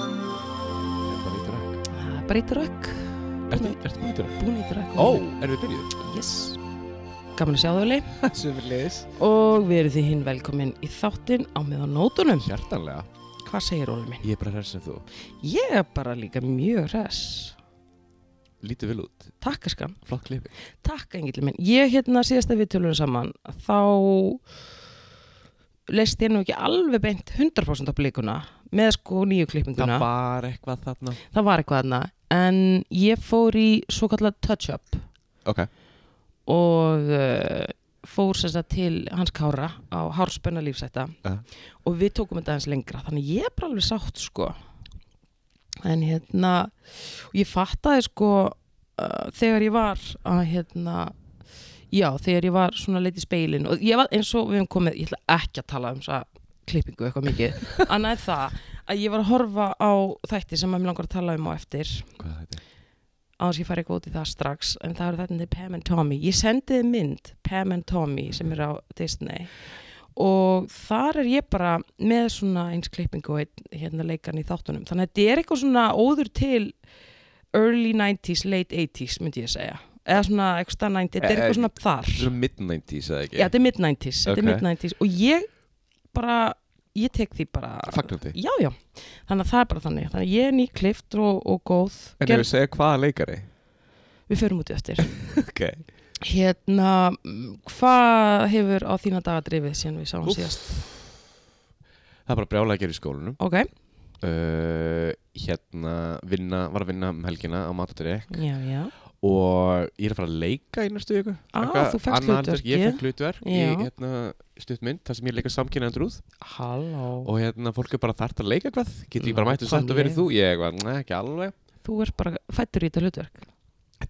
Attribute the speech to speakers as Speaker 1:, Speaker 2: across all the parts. Speaker 1: Eitthvað lítið ræk.
Speaker 2: Breytir ökk,
Speaker 1: Ertu ertu búin í drakk?
Speaker 2: búin í drakk
Speaker 1: Ó, erum við byrjuð?
Speaker 2: Yes Gaman að sjá þau leið
Speaker 1: Sumurliðis.
Speaker 2: Og við erum því hinn velkomin í þáttinn á meðan nótunum
Speaker 1: Hjartanlega.
Speaker 2: Hvað segir Óli minn?
Speaker 1: Ég er bara hér sem þú.
Speaker 2: Ég er bara líka mjög hress
Speaker 1: Lítið vel út.
Speaker 2: Takk skan,
Speaker 1: Flott klipi.
Speaker 2: takk engill minn Ég hérna síðast að við tölum saman Þá leist ég nú ekki alveg beint 100% á blikuna Með sko nýju klippinguna
Speaker 1: Það var eitthvað þarna.
Speaker 2: Það var eitthvað þarna En ég fór í svo kallar touch-up
Speaker 1: Ok.
Speaker 2: og uh, fór sem sagt til hans kára á hárspenna lífsætta
Speaker 1: Ja.
Speaker 2: og við tókum þetta aðeins lengra þannig ég er bara alveg sátt sko en hérna og ég fattaði sko uh, þegar ég var að hérna já þegar ég var svona leitt í speilin og ég var eins og við hefum komið ég ætla ekki að tala um svo klippingu eitthvað mikið annað er það að ég var að horfa á þætti sem maður langar að tala um á eftir
Speaker 1: Hvað þetta er?
Speaker 2: á þess að ég fari eitthvað út í það strax en það eru þetta Pam and Tommy ég sendiði mynd Pam and Tommy sem er á Disney og þar er ég bara með svona eins klippingu og einn, hérna leikan í þáttunum þannig að þetta er eitthvað svona óður til early 90s, late 80s myndi ég segja eða svona eitthvað 90s, þetta er
Speaker 1: Eh,
Speaker 2: eitthvað svona þar
Speaker 1: Þetta er mid-90s eða ekki?
Speaker 2: já, þetta er mid-90s þetta er
Speaker 1: Ok.
Speaker 2: mid-90s og ég bara ég tek því bara
Speaker 1: Fagnandi.
Speaker 2: já, já, þannig að það er bara þannig þannig að ég er nýklift og, og góð
Speaker 1: En
Speaker 2: Ger-
Speaker 1: ef við segja hvaða leikari?
Speaker 2: við förum út í eftir
Speaker 1: Ok.
Speaker 2: Hérna, mm, hvað hefur á þína daga drifið síðan við sáum
Speaker 1: Úff.
Speaker 2: síðast?
Speaker 1: Það er bara brjálega að gera í skólanum.
Speaker 2: Ok,
Speaker 1: Uh, hérna, vinna, var að vinna um helgina á matutri
Speaker 2: já, já,
Speaker 1: og ég er að fara að leika í næstu viku.
Speaker 2: Ah,
Speaker 1: Eitthvað
Speaker 2: þú fékkst
Speaker 1: annað handverk. Ég
Speaker 2: hlutverkið.
Speaker 1: fekk hlutverk í
Speaker 2: Já.
Speaker 1: hérna, stuttmynd, þar sem ég leika samkynnaðan drúð.
Speaker 2: halló,
Speaker 1: og hérna fólk er bara þart að leika eitthvað getur ég bara mættu samt að verið þú ég eitthvað, nei ekki alveg
Speaker 2: þú ert bara fættur í þetta hlutverk.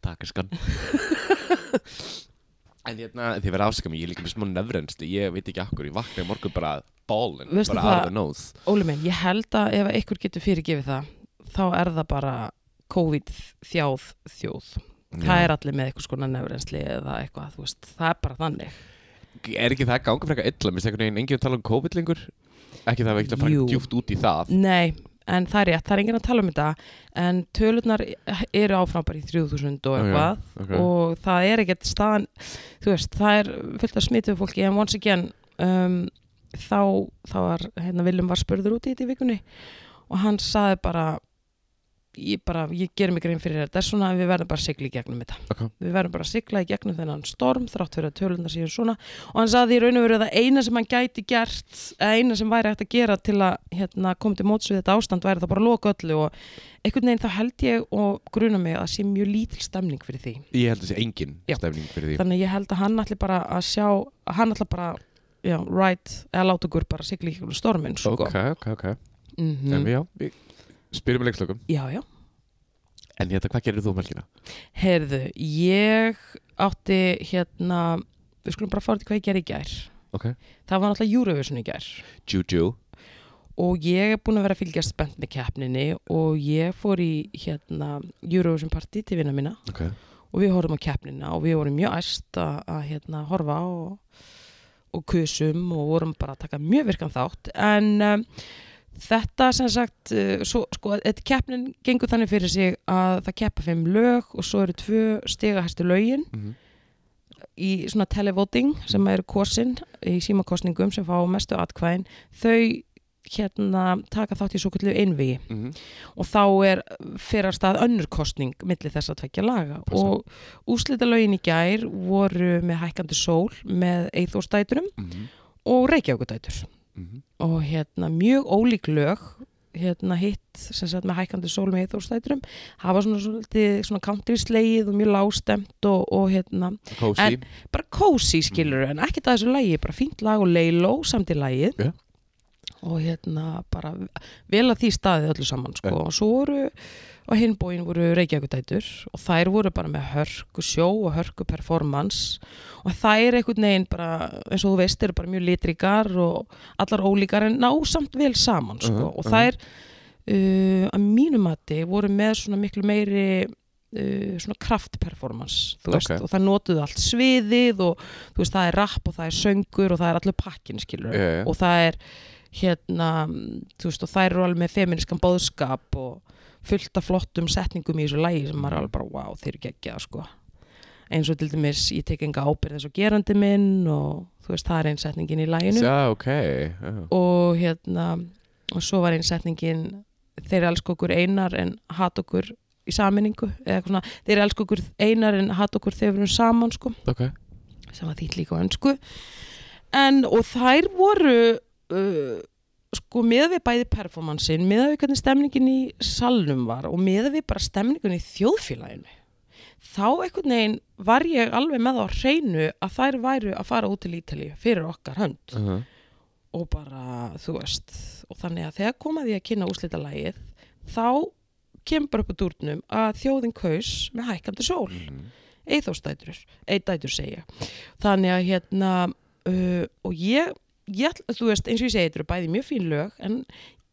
Speaker 1: takk er skann en hérna þið verða afsaka mig, ég er líka með smá nefrensli ég veit ekki akkur, ég vakna í morgun bara bólin,
Speaker 2: Veistu
Speaker 1: bara
Speaker 2: það-
Speaker 1: out of the nose
Speaker 2: Óli minn, ég held að ef einhver getur fyrirgefið það, þá er það bara COVID-þjáð þjóð. Það er allir með eitthvað skona nefrensli eða eitthvað, þú veist, það er bara þannig.
Speaker 1: er ekki það ganga frekar illa, minnst einhvern veginn enginn að tala um COVID lengur ekki það við ekki að fara
Speaker 2: Jú.
Speaker 1: djúft út í það
Speaker 2: Nei, en það er rétt, það er enginn að tala um þetta, en tölurnar eru áfram bara í 3000 og eitthvað.
Speaker 1: okay.
Speaker 2: og það er ekkert staðan þú veist, það er fullt af smitu fólki en once again um, þá, þá var, hérna Viljum var spurður út í þetta í vikunni og hann saði bara ég bara, ég ger mig grein fyrir þetta er svona að við verðum bara að sigla í gegnum þetta
Speaker 1: Ok.
Speaker 2: við verðum bara að sigla í gegnum þennan storm þrátt fyrir að tölunda síðan svona og hann saði í raun og veru að eina sem hann gæti gert eða eina sem væri hægt að gera til að hérna, koma til móts við þetta ástand væri það bara að loka öllu og einhvern veginn þá held ég og gruna mig að það sé mjög lítil stemning fyrir því
Speaker 1: ég held að sé engin
Speaker 2: Já.
Speaker 1: stefning fyrir því
Speaker 2: þannig að ég held að hann ætli bara að sjá að hann ætli bara já, right, eða láta okkur bara sigla í ykkur stormin sko.
Speaker 1: ok, ok, ok,
Speaker 2: Mhm.
Speaker 1: en við já við spyrum með leikslökum
Speaker 2: já, já,
Speaker 1: en hérna, hvað gerir þú um helgina?
Speaker 2: heyrðu ég átti hérna við skulum bara fara til hvað ég gerði í gær
Speaker 1: ok,
Speaker 2: það var náttúrulega Eurovision í gær
Speaker 1: Juju
Speaker 2: og ég er búin að vera að fylgjast spennt með keppninni og ég fór í hérna Eurovision party til vina mína
Speaker 1: ok,
Speaker 2: og við horfum á keppnina og við vorum mjög æst að, að hérna, horfa og, og kusum og vorum bara að taka mjög virkan þátt en um, þetta sem sagt uh, svo, sko, þetta keppnin gengur þannig fyrir sig að það keppa fimm lög og svo eru tvö stigahæstu lögin
Speaker 1: Mhm.
Speaker 2: í svona televoting sem eru kosin í símakosningum sem fá mestu atkvæðin þau hérna taka þátt í svo kallu einvigi
Speaker 1: Mhm.
Speaker 2: og þá er fyrir að stað önnur kostning millir þess að tvekja laga
Speaker 1: Passa.
Speaker 2: og úslitalögin í gær voru með hækkandi sól með eithóstæturum
Speaker 1: Mhm.
Speaker 2: og reykjaukudætur
Speaker 1: Mhm.
Speaker 2: og hérna mjög ólík lög hérna hitt sem sagt með hækkandi sól með eithóstæturum hafa svona, svona, svona country sleið og mjög lástemt og, og hérna
Speaker 1: Kósi
Speaker 2: En- bara
Speaker 1: Mhm.
Speaker 2: kósi skilur en ekkert að þessu lægi, bara fínt lag og leiló samt í lagið
Speaker 1: Já.
Speaker 2: og hérna bara vel að því staðið öllu saman sko
Speaker 1: Já.
Speaker 2: og svo voru og hinn bóin voru reykjagudætur og þær voru bara með hörku sjó og hörku performance og þær einhvern veginn bara eins og þú veist eru bara mjög litrikar og allar ólíkar en ná samt vel saman sko
Speaker 1: Mhm,
Speaker 2: og
Speaker 1: mhm.
Speaker 2: þær uh, að mínum mati voru með svona miklu meiri uh, svona kraftperformance þú veist,
Speaker 1: Ok.
Speaker 2: og það notuðu allt sviðið og þú veist, það er rapp og það er söngur og það er allur pakkin skilur
Speaker 1: Já, já.
Speaker 2: og það er hérna, mm, þú veist, og þær eru alveg með feminískan bóðskap og fullt af flottum setningum í þessu lægi sem maður er alveg bara, wow, þeir eru geggjað sko eins og til dæmis, ég tek enga ábyrð eins og gerandi minn og þú veist, það er einn setningin í læginu
Speaker 1: Já, ok já.
Speaker 2: og hérna og svo var einn setningin þeir elsku okkur einar en hat okkur í saminningu eða eitthvað svona, þeir elsku okkur einar en hat okkur þegar við erum saman sko
Speaker 1: Ok,
Speaker 2: sem var þýtt líka á önsku en og þær voru uh, sko með við bæði performansin, með við hvernig stemningin í salnum var og með við bara stemningun í þjóðfélaginu þá einhvern veginn var ég alveg með á hreinu að þær væru að fara út til Ítalíu fyrir okkar hönd
Speaker 1: uh -huh.
Speaker 2: og bara, þú veist og þannig að þegar komaði að kynna úslita lagið þá kemur bara upp á dúrnum að þjóðin kaus með hækkandi sól,
Speaker 1: Mhm.
Speaker 2: eithóstætur eithætur segja þannig að hérna uh, og ég, ég, ætla- þú veist, eins og ég segi þetta eru bæði mjög fín lög, en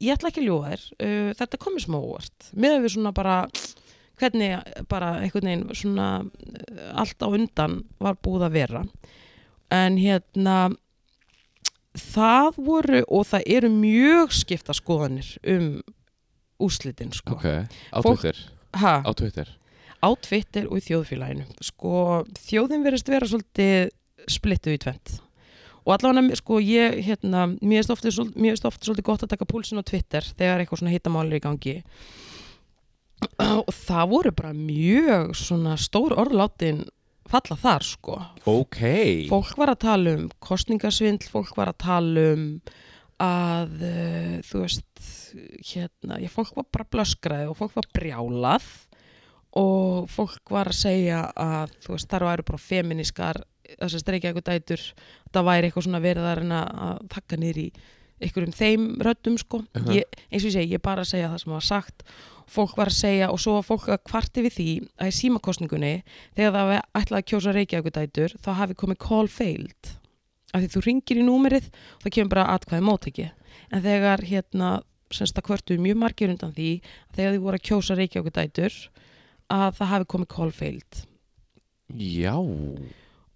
Speaker 2: ég ætla ekki að ljóða þér, uh, þetta komið smá óvart meðan við svona bara hvernig bara einhvern veginn svona uh, allt á undan var búið að vera en hérna það voru og það eru mjög skipta skoðanir um úslitin sko.
Speaker 1: ok Á
Speaker 2: Fólk-
Speaker 1: Twitter,
Speaker 2: ha,
Speaker 1: á Twitter
Speaker 2: á Twitter og í þjóðfélaginu sko, þjóðin verðist vera svolítið splittu í tvent og allavega, sko, ég, hérna mér erst ofta, mér erst ofta svolítið gott að taka púlsinn á Twitter þegar eitthvað svona hittamáli er í gangi og það voru bara mjög svona stór orðlátin falla þar, sko
Speaker 1: Ok
Speaker 2: fólk var að tala um kostningasvindl, fólk var að tala um að uh, þú veist, hérna já, fólk var bara blöskraði og fólk var brjálað og fólk var að segja að þú veist, þar væru bara feminískar þess að streikja eitthvað dætur, það væri eitthvað svona verið að reyna að þakka niður í einhverjum þeim röddum sko
Speaker 1: Mhm.
Speaker 2: ég, eins og ég segi, ég er bara að segja það sem var sagt fólk var að segja og svo var fólk að kvarti við því að í símakostningunni þegar það var ætlað að kjósa reykjavíkudætur þá hafi komið call failed af því þú ringir í númerið og það kemur bara atkvæði móteki en þegar hérna semst það kvörtuðu mjög margir undan því að þegar þið voru að kjósa reykjavíkudætur að það hafi komið call failed
Speaker 1: Já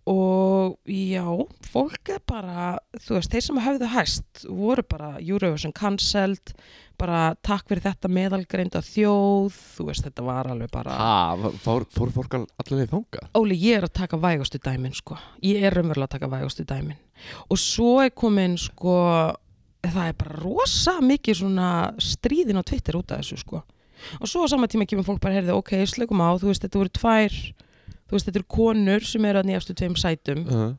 Speaker 2: og já, fólk er bara þú veist, þeir sem höfðu hæst voru bara Eurovision cancelled bara takk fyrir þetta meðalgreinda þjóð, þú veist, þetta var alveg bara
Speaker 1: Ha, fór, fór fólk al- allavega þangað?
Speaker 2: Óli, ég er að taka vægastu dæmin sko. ég er raunverulega að taka vægastu dæmin og svo er komin sko, það er bara rosa mikið svona stríðin á Twitter út af þessu sko. og svo á sama tíma kemur fólk bara heyrði, ok, slökum á, þú veist, þetta voru tvær þú veist, þetta eru konur sem eru að nýjastu tveim sætum
Speaker 1: Uh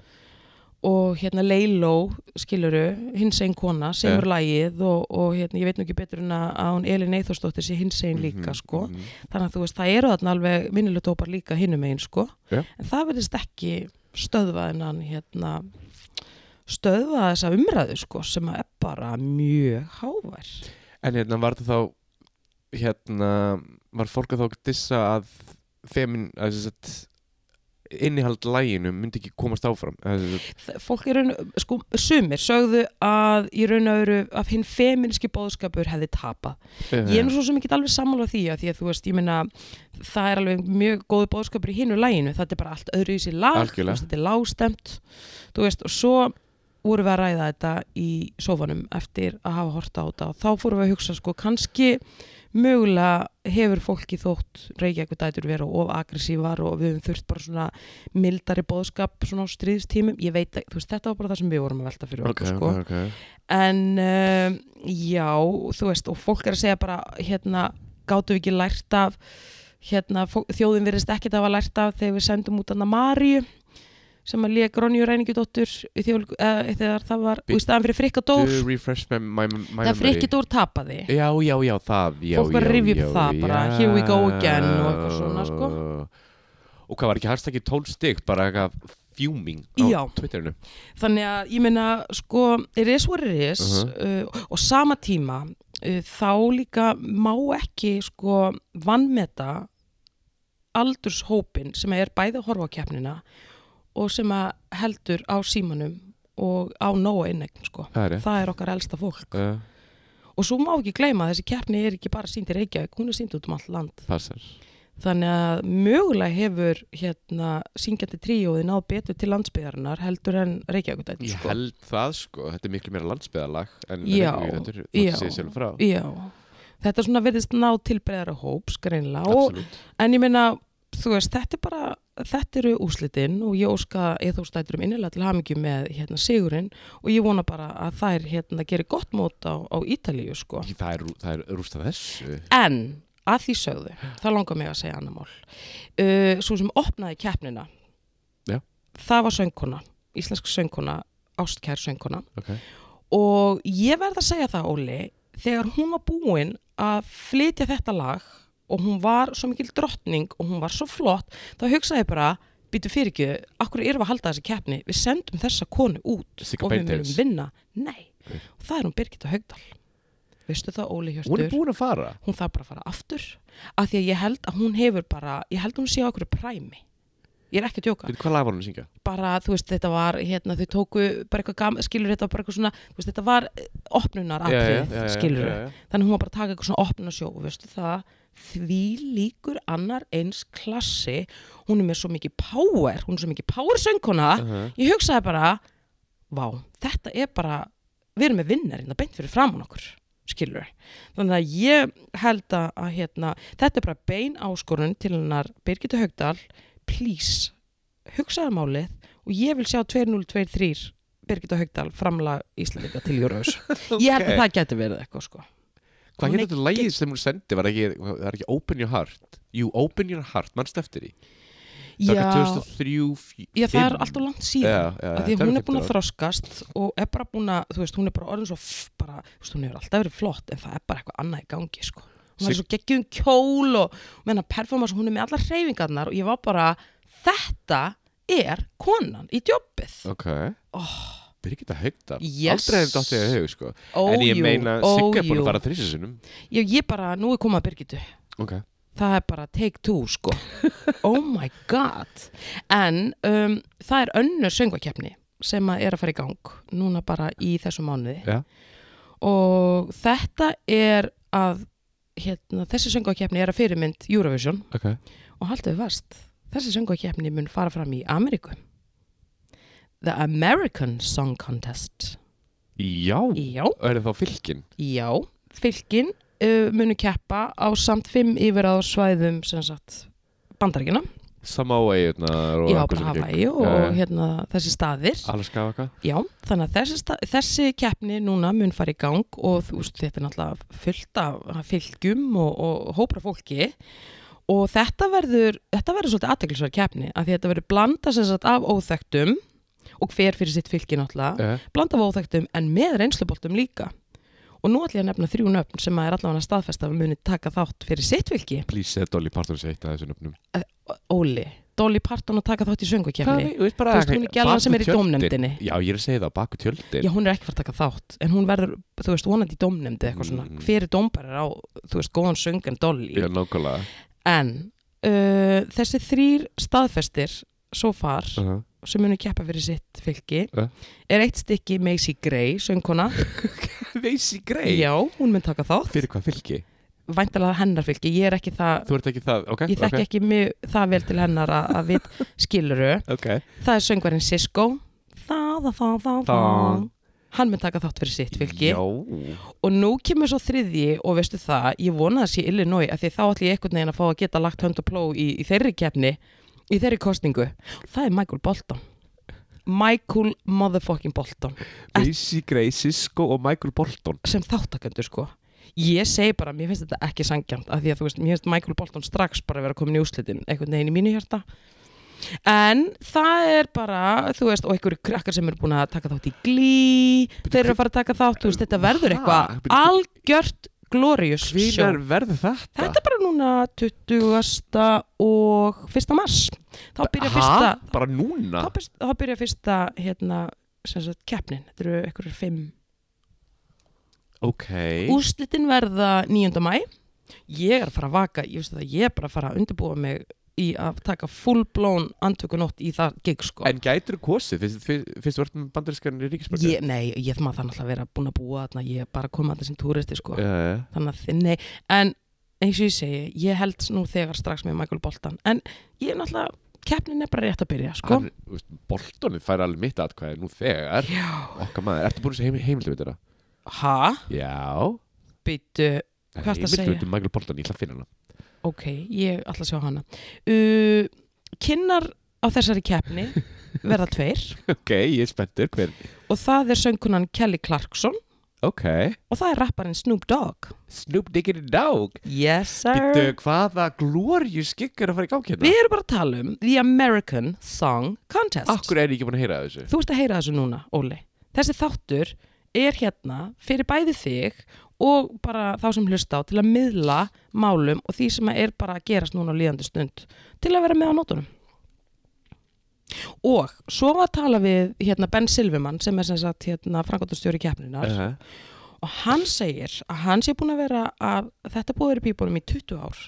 Speaker 2: og hérna Leiló, skiluru, hins einn kona, semur lagið og, og hérna, ég veit nú ekki betur en að að hún Elin Eithorsdóttir sé hins
Speaker 1: Mhm,
Speaker 2: einn líka sko þannig að þú veist, það eru þarna alveg minnilega tópar líka hinum einn sko
Speaker 1: Já.
Speaker 2: en það verðist ekki stöðvaðinan hérna stöðva þessa umræðu sko sem að er bara mjög hávær
Speaker 1: En hérna var þetta þá hérna, var fólk að þá dissa að femin, að þess að innihald læginu myndi ekki komast áfram að þess að,
Speaker 2: Þ- fólk í raun, sko, sumir sögðu að í raun og öru að hinn feminski bóðskapur hefði tapað ég er nú svo sem ekki alveg sammála því að því að þú veist, ég meina það er alveg mjög góðu bóðskapur í hinu læginu þetta er bara allt öðru í sér lag þú
Speaker 1: Algjörlega.
Speaker 2: veist, þetta er lágstemt þú veist, og svo vorum við að ræða þetta í sofanum eftir að hafa horta á þetta og þá fórum við að hugsa sko kannski mögulega hefur fólki þótt reykjæku dætur vera of aggressívar og við höfum þurft bara svona mildari bóðskap svona á stríðstímum ég veit, að- þú veist, þetta var bara það sem við vorum að velta fyrir
Speaker 1: ok,
Speaker 2: okkur sko
Speaker 1: ok, ok
Speaker 2: en um, já, þú veist og fólk er að segja bara hérna, gátum við ekki lært af hérna, fó- þjóðin virðist ekkert að hafa lært af þegar við sendum út hana Maríu sem að lék Ronju Ræningudóttur í þjóðlíku- eh, þegar það var
Speaker 1: Bíddu.
Speaker 2: í staðan fyrir Frikka Dór
Speaker 1: Do refresh my, my, my
Speaker 2: þegar
Speaker 1: memory
Speaker 2: Frikki Dór tapaði
Speaker 1: Já, já, já, það já,
Speaker 2: Fólk var
Speaker 1: já,
Speaker 2: að rifja upp
Speaker 1: já,
Speaker 2: það bara,
Speaker 1: já.
Speaker 2: here we go again og eitthvað svona, sko.
Speaker 1: Og hvað var ekki hans ekki 12 stygg bara eitthvað fuming á
Speaker 2: Já.
Speaker 1: Twitterinu
Speaker 2: þannig að ég meina sko, it is what it is
Speaker 1: Mhm.
Speaker 2: uh, og sama tíma uh, þá líka má ekki sko vannmeta aldurshópin sem er bæði að horfa á keppnina og sem að heldur á símanum og á nóa innegn sko
Speaker 1: Það er ég
Speaker 2: það er okkar elsta fólk
Speaker 1: uh,
Speaker 2: og svo má ekki gleyma að þessi keppni er ekki bara sínd í Reykjavík, hún er sínd út um allt land
Speaker 1: Passar
Speaker 2: þannig að mögulega hefur hérna syngjandi tríóði náð betur til landsbyðarinnar heldur en Reykjavíkudætt
Speaker 1: Ég
Speaker 2: sko.
Speaker 1: held það sko, þetta er miklu meira landsbyðalag en
Speaker 2: Já,
Speaker 1: þetta er
Speaker 2: já.
Speaker 1: sér sjálf frá
Speaker 2: Já, þetta svona verðist ná til breyðara hóps greinlega og,
Speaker 1: Absolutt,
Speaker 2: en ég meina þú veist, þetta er bara, þetta eru úslitin og ég óska eðhóstætturum innilega til hamingju með hérna sigurinn og ég vona bara að þær hérna gerir gott mót á, á Ítalíu sko.
Speaker 1: Í, það er, rú- það er rústa þessu
Speaker 2: En að því sögðu, það langar mig að segja annar mál. Uh, svo sem opnaði keppnina,
Speaker 1: Já.
Speaker 2: það var söngkona, íslensk söngkona, ástkær söngkona.
Speaker 1: okay.
Speaker 2: Og ég verð að segja það, Óli, þegar hún var búin að flytja þetta lag og hún var svo mikil drottning og hún var svo flott, þá hugsaði ég bara, býtu fyrir ekki, akkur erum við að halda þessi keppni, við sendum þessa konu út
Speaker 1: Sigga
Speaker 2: og við
Speaker 1: Beinteins.
Speaker 2: munum vinna. Nei,
Speaker 1: Ok.
Speaker 2: og það er hún Birgitta Haugdal. Veistu það, Óli Hjörtur?
Speaker 1: Hún er búin að fara
Speaker 2: hún þarf bara að fara aftur af því að ég held að hún hefur bara ég held að hún sé á okkur præmi ég er ekki að djóka,
Speaker 1: Veitu hvað lag var hún að syngja?
Speaker 2: bara þú veist þetta var hérna þau tóku bara eitthvað gam, skilur þetta var bara eitthvað svona, þú veist þetta var opnunar atrið, skilur
Speaker 1: já, já, já.
Speaker 2: þannig að hún var bara að taka eitthvað svona opnunarsjó og veistu það, því líkur annar eins klassi hún er með svo mikið power, hún er svo mikið power söngkona,
Speaker 1: Uh-huh.
Speaker 2: Ah, ég hugsaði bara vá, þetta er bara við erum með vinnar hérna beint fyrir framann okkur skilur þannig að ég held að, að hérna, þetta er bara bein áskorun til hennar Birgitta Haugdal please, hugsaði málið og ég vil sjá 2023 Birgitta Haugdal framlag Íslandika til Júrós ég held að það geti verið eitthvað sko
Speaker 1: Hvað
Speaker 2: Hún
Speaker 1: hétt þetta lagið sem hún sendi? Var ekki, það er ekki Open Your Heart Jú, Open Your Heart, mannst eftir því Það
Speaker 2: já,
Speaker 1: er 2003 fjö-
Speaker 2: já, það er
Speaker 1: fimm.
Speaker 2: alltaf langt
Speaker 1: Já,
Speaker 2: síðan
Speaker 1: já,
Speaker 2: að
Speaker 1: þetta
Speaker 2: því að hún
Speaker 1: eru
Speaker 2: er búin
Speaker 1: 15
Speaker 2: að
Speaker 1: ár.
Speaker 2: þroskast og er bara búin að, þú veist, hún er bara orðin svo f- bara, þú veist, hún hefur alltaf verið flott en það er bara eitthvað annað í gangi, sko hún er
Speaker 1: Sig-
Speaker 2: svo geggjum kjól og og meðan að performance, hún er með allar hreyfingarnar og ég var bara, þetta er konan í djópið
Speaker 1: Ok
Speaker 2: Oh.
Speaker 1: Birgitta Haugdal
Speaker 2: Yes.
Speaker 1: Aldrei hefði dóttið að hug sko
Speaker 2: Ó,
Speaker 1: En ég
Speaker 2: jú,
Speaker 1: meina
Speaker 2: ó,
Speaker 1: Sigga er búin
Speaker 2: jú.
Speaker 1: að fara þrísisunum
Speaker 2: oh, Já, ég bara, nú er komað að Birgitu
Speaker 1: Ok
Speaker 2: það er bara take two sko oh my god en um, það er önnur söngvakeppni sem að er að fara í gang núna bara í þessum mánuði
Speaker 1: Ja.
Speaker 2: og þetta er að hérna, þessi söngvakeppni er að fyrirmynd Eurovision
Speaker 1: Ok
Speaker 2: og haldið fast þessi söngvakeppni mun fara fram í Ameríku The American Song Contest
Speaker 1: Já
Speaker 2: já
Speaker 1: Er það þá fylkin?
Speaker 2: Já, fylkin uh, munu keppa á samt fimm yfir á svæðum sem sagt bandaríkina,
Speaker 1: Samáa eigurnar og
Speaker 2: já,
Speaker 1: eitthvað
Speaker 2: bara
Speaker 1: sem ekki-
Speaker 2: Hawaii og, hérna-
Speaker 1: Já, já.
Speaker 2: og hérna þessi staðir
Speaker 1: Alaska og eitthvað
Speaker 2: Já, þannig að þessi, sta- þessi keppni núna mun fara í gang og þú veist, þetta er náttúrulega fullt af fylgjum og, og hópra fólki og þetta verður, þetta verður svolítið aðteklisverð keppni af því að þetta verður blanda sem sagt af óþektum og hver fyrir sitt fylki náttúrulega
Speaker 1: Já.
Speaker 2: blanda af óþægtum en með reynsluboltum líka og nú ætlum ég að nefna þrjú nöfn sem að er allavega staðfest að muni taka þátt fyrir sitt fylki
Speaker 1: Please set Dolly Parton sér eitt af þessu nöfnum
Speaker 2: Óli, Dolly Parton að taka þátt í söngukefni
Speaker 1: Þú veist
Speaker 2: Þú veist, hún er gælan sem er
Speaker 1: baku
Speaker 2: í
Speaker 1: tjöldin.
Speaker 2: dómnefndinni
Speaker 1: Já, ég er að segja það, baku tjöldin
Speaker 2: Já, hún er ekki fara að taka þátt en hún verður, þú veist, vonandi í dómnefndi eitthvað svona,
Speaker 1: Mm.
Speaker 2: hver er dómbarar á þú veist, góðan söngan Dolly
Speaker 1: Já, nákvæmlega
Speaker 2: en uh, þessi þrýr staðfestir so far
Speaker 1: uh
Speaker 2: sem munu keppa fyrir sitt fylki
Speaker 1: Ja.
Speaker 2: er eitt stykki Macy Gray, söngkona
Speaker 1: Veisi grei
Speaker 2: Já, hún mun taka þátt
Speaker 1: Fyrir hvað fylki?
Speaker 2: væntalega hennar fylgi, ég er ekki það
Speaker 1: Þú ert ekki það, ok
Speaker 2: ég þekki ekki mjög, það vel til hennar að, að við skiluru,
Speaker 1: Ok
Speaker 2: það er söngvarinn Sisko það, það, það, það,
Speaker 1: Það.
Speaker 2: hann mun taka þátt fyrir sitt fylgi
Speaker 1: Já
Speaker 2: og nú kemur svo þriðji og veistu það, ég vona að sé Illinois að því þá ætlum ég einhvern veginn að fá að geta lagt hönd og pló í, í þeirri keppni, í þeirri kostningu það er Michael Bolton Michael motherfucking Bolton
Speaker 1: Veisi grei, Sisko og Michael Bolton
Speaker 2: sem þáttakendur sko ég segi bara, mér finnst þetta ekki sangjant af því að þú veist, mér finnst Michael Bolton strax bara vera komin í úslitin, einhvern veginn í mínu hjarta en það er bara þú veist, og einhverju krakkar sem eru búin að taka þátt í glí þeir eru að fara að taka þátt, þú veist, þetta verður
Speaker 1: Ha?
Speaker 2: eitthvað
Speaker 1: Bíddu,
Speaker 2: algjört glorious show
Speaker 1: Hvínar verður þetta?
Speaker 2: þetta er bara núna 20. og 1. mars þá byrja
Speaker 1: Ha?
Speaker 2: fyrsta
Speaker 1: Bara núna?
Speaker 2: þá byrja, þá byrja fyrsta hérna, sem sagt, keppnin, þetta eru einhverjur fimm
Speaker 1: Ok
Speaker 2: Úrslitin verða 9. mæ Ég er að fara að vaka, ég veist það, ég er bara að fara að undirbúa mig í að taka full blown andtökunótt í það gig sko.
Speaker 1: En gætur kosið, fyrst, fyrst, fyrst þú ert með bandarískan ríkisborgar?
Speaker 2: Ég, nei, ég maður það náttúrulega að vera búin að búa þarna, ég er bara að koma að þessum túristi sko.
Speaker 1: Já, já.
Speaker 2: Þannig að, þið- nei, en eins og ég segi, ég held nú þegar strax með Michael Bolton, en ég er náttúrulega, keppnin er bara rétt að byrja, sko.
Speaker 1: Hann, þú veist, Boltonið fær alveg mitt atkvæði nú þegar
Speaker 2: Já.
Speaker 1: Okkar maður, ertu búin að segja heim, heimildu við þetta?
Speaker 2: Ha?
Speaker 1: Já
Speaker 2: Byttu, Hvað ertu að
Speaker 1: Heimildu
Speaker 2: segja?
Speaker 1: við Michael Bolton, ég ætla að finna hana
Speaker 2: ok, ég ætla að sjá hana. Uh, kynnar á þessari keppni verða tveir
Speaker 1: Ok, ég er spenntur, hver
Speaker 2: og það er söngkunan Kelly Clarkson
Speaker 1: Ok
Speaker 2: og það er rapparinn Snoop Dogg.
Speaker 1: Snoop Diggity Dog
Speaker 2: Yes, sir.
Speaker 1: Býttu, hvaða glóriu skikk er að fara í gangi hérna?
Speaker 2: Við erum bara að tala um The American Song Contest.
Speaker 1: Akkur er ég ekki búin að heyra af þessu
Speaker 2: Þú ert að heyra þessu núna, Óli. Þessi þáttur er hérna fyrir bæði þig og bara þá sem hlusta á til að miðla málum og því sem er bara að gerast núna á líðandi stund til að vera með á nótunum. Og svo var að tala við hérna Ben Silvimann sem er sem sagt hérna frangotastjóri keppninar
Speaker 1: -huh.
Speaker 2: og hann segir að hann sé búin að vera að þetta búið er í pípunum í 20 ár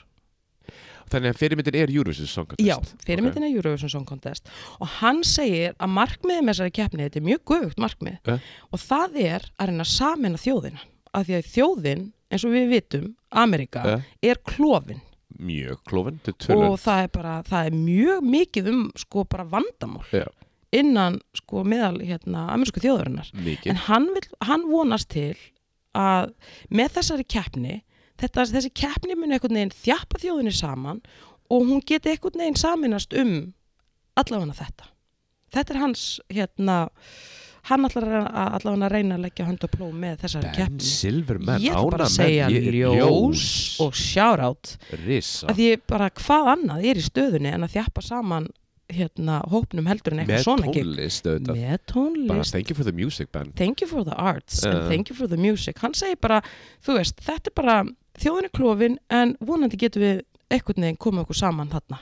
Speaker 1: Þannig að fyrirmyndin er Eurovision Song Contest
Speaker 2: Já, fyrirmyndin er Eurovision Song Contest og hann segir að markmiðið með þessari keppni þetta er mjög guðugt markmið
Speaker 1: Eh?
Speaker 2: og það er að reyna að samena þjóðina af því að þjóðin, eins og við vitum Amerika,
Speaker 1: Eh?
Speaker 2: er klofin
Speaker 1: Mjög klófin, þetta er tölun
Speaker 2: og það er bara, það er mjög mikið um sko bara vandamál
Speaker 1: um- Já.
Speaker 2: innan sko meðal hérna amerísku þjóðurinnar
Speaker 1: Mikið
Speaker 2: en hann, vill, hann vonast til að með þessari keppni þetta, þessi keppni muni einhvern veginn þjappa þjóðinni saman og hún geti einhvern veginn saminast um allafana þetta þetta er hans hérna hann ætlar að- að allafana reyna að leggja hönd og pló með þessari
Speaker 1: Ben
Speaker 2: keppni
Speaker 1: Silverman
Speaker 2: ég ætla bara
Speaker 1: ána
Speaker 2: að segja
Speaker 1: menn, ég-
Speaker 2: ljós, og sjárátt
Speaker 1: Risa
Speaker 2: að ég bara hvað annað er í stöðunni en að þjappa saman hérna hópnum heldur en
Speaker 1: Með
Speaker 2: eitthvað svona gig.
Speaker 1: tónlist auðvitað
Speaker 2: með
Speaker 1: Bara
Speaker 2: tónlist
Speaker 1: thank you for the music band
Speaker 2: thank you for the arts and
Speaker 1: Já.
Speaker 2: thank you for the music hann segir bara, þú veist, þetta er bara þjóðin er klófin en vonandi getum við einhvern veginn komið okkur saman þarna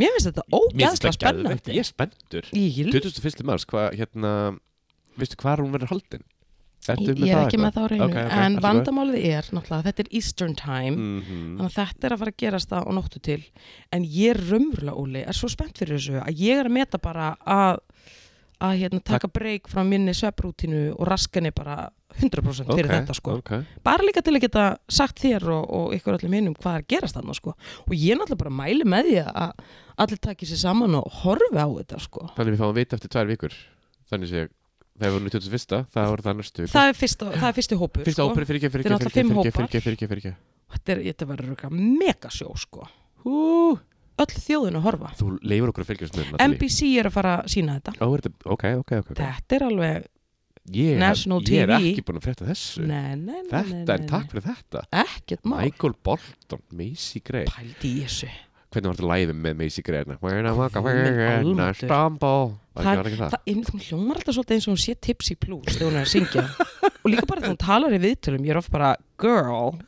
Speaker 2: mér finnst þetta ógæðslega spennandi
Speaker 1: Ég er spenntur
Speaker 2: ég,
Speaker 1: 21. mars, hvað hérna Veistu hvað hún verður haldin? Ertu
Speaker 2: ég er ekki
Speaker 1: eitthvað?
Speaker 2: með það á reynu
Speaker 1: Ok, ok,
Speaker 2: en
Speaker 1: allt í lagi.
Speaker 2: vandamálið er, náttúrulega, þetta er Eastern Time
Speaker 1: Mhm.
Speaker 2: þannig að þetta er að fara að gerast það á nóttu til en ég raumurlega, Óli, er svo spennt fyrir þessu að ég er að meta bara að að hérna, taka breyk frá minni svepprútinu og raskinni bara 100% fyrir
Speaker 1: Ok,
Speaker 2: þetta sko
Speaker 1: ok.
Speaker 2: bara líka til að geta sagt þér og, og ykkur allir minnum hvað er að gerast þannig sko. og ég náttúrulega bara mæli með því að allir taki sér saman og horfi á þetta sko.
Speaker 1: Þannig við fáum vita eftir tvær vikur Þannig sé ég Það voru 21. Það voru það næstu viku.
Speaker 2: það er, fyrsta, það er fyrsti hópur
Speaker 1: Fyrsta
Speaker 2: sko.
Speaker 1: óperi fyrir ekki, fyrir
Speaker 2: Þetta
Speaker 1: ekki,
Speaker 2: er
Speaker 3: fimm
Speaker 1: fyrir ekki, fyrir
Speaker 2: náttúrulega
Speaker 3: hópar.
Speaker 1: ekki, fyrir ekki, fyrir ekki
Speaker 2: þetta, er, þetta verður eitthvað megasjó sko.
Speaker 1: Hú
Speaker 2: öll þjóðin að horfa
Speaker 1: Þú leifur okkur að fylgjast með Natalie.
Speaker 2: NBC er að fara að sína þetta
Speaker 1: Ó, er þetta- Ok, ok, ok, ok
Speaker 2: þetta er alveg
Speaker 1: Ég
Speaker 2: National
Speaker 1: er- Ég er
Speaker 2: TV.
Speaker 1: ekki búin að frétta þessu
Speaker 2: nei, nei, nei, nei,
Speaker 1: Þetta,
Speaker 2: nei,
Speaker 1: en
Speaker 2: nei.
Speaker 1: takk fyrir þetta
Speaker 2: ekkert mál
Speaker 1: Michael Bolton, Macy Gray
Speaker 2: pældi í þessu
Speaker 1: Hvernig var þetta læfið með Macy Gray hérna? When I walk
Speaker 2: Guð minn
Speaker 1: away and I
Speaker 2: almáttugur.
Speaker 1: stumble Var
Speaker 2: Það-
Speaker 1: ekki- var ekki það?
Speaker 2: það, en hún hljómar alltaf svolítið eins og hún sé tipsy plus þegar hún er að syngja og líka bara þegar hún talar í viðtölum ég er oft bara, girl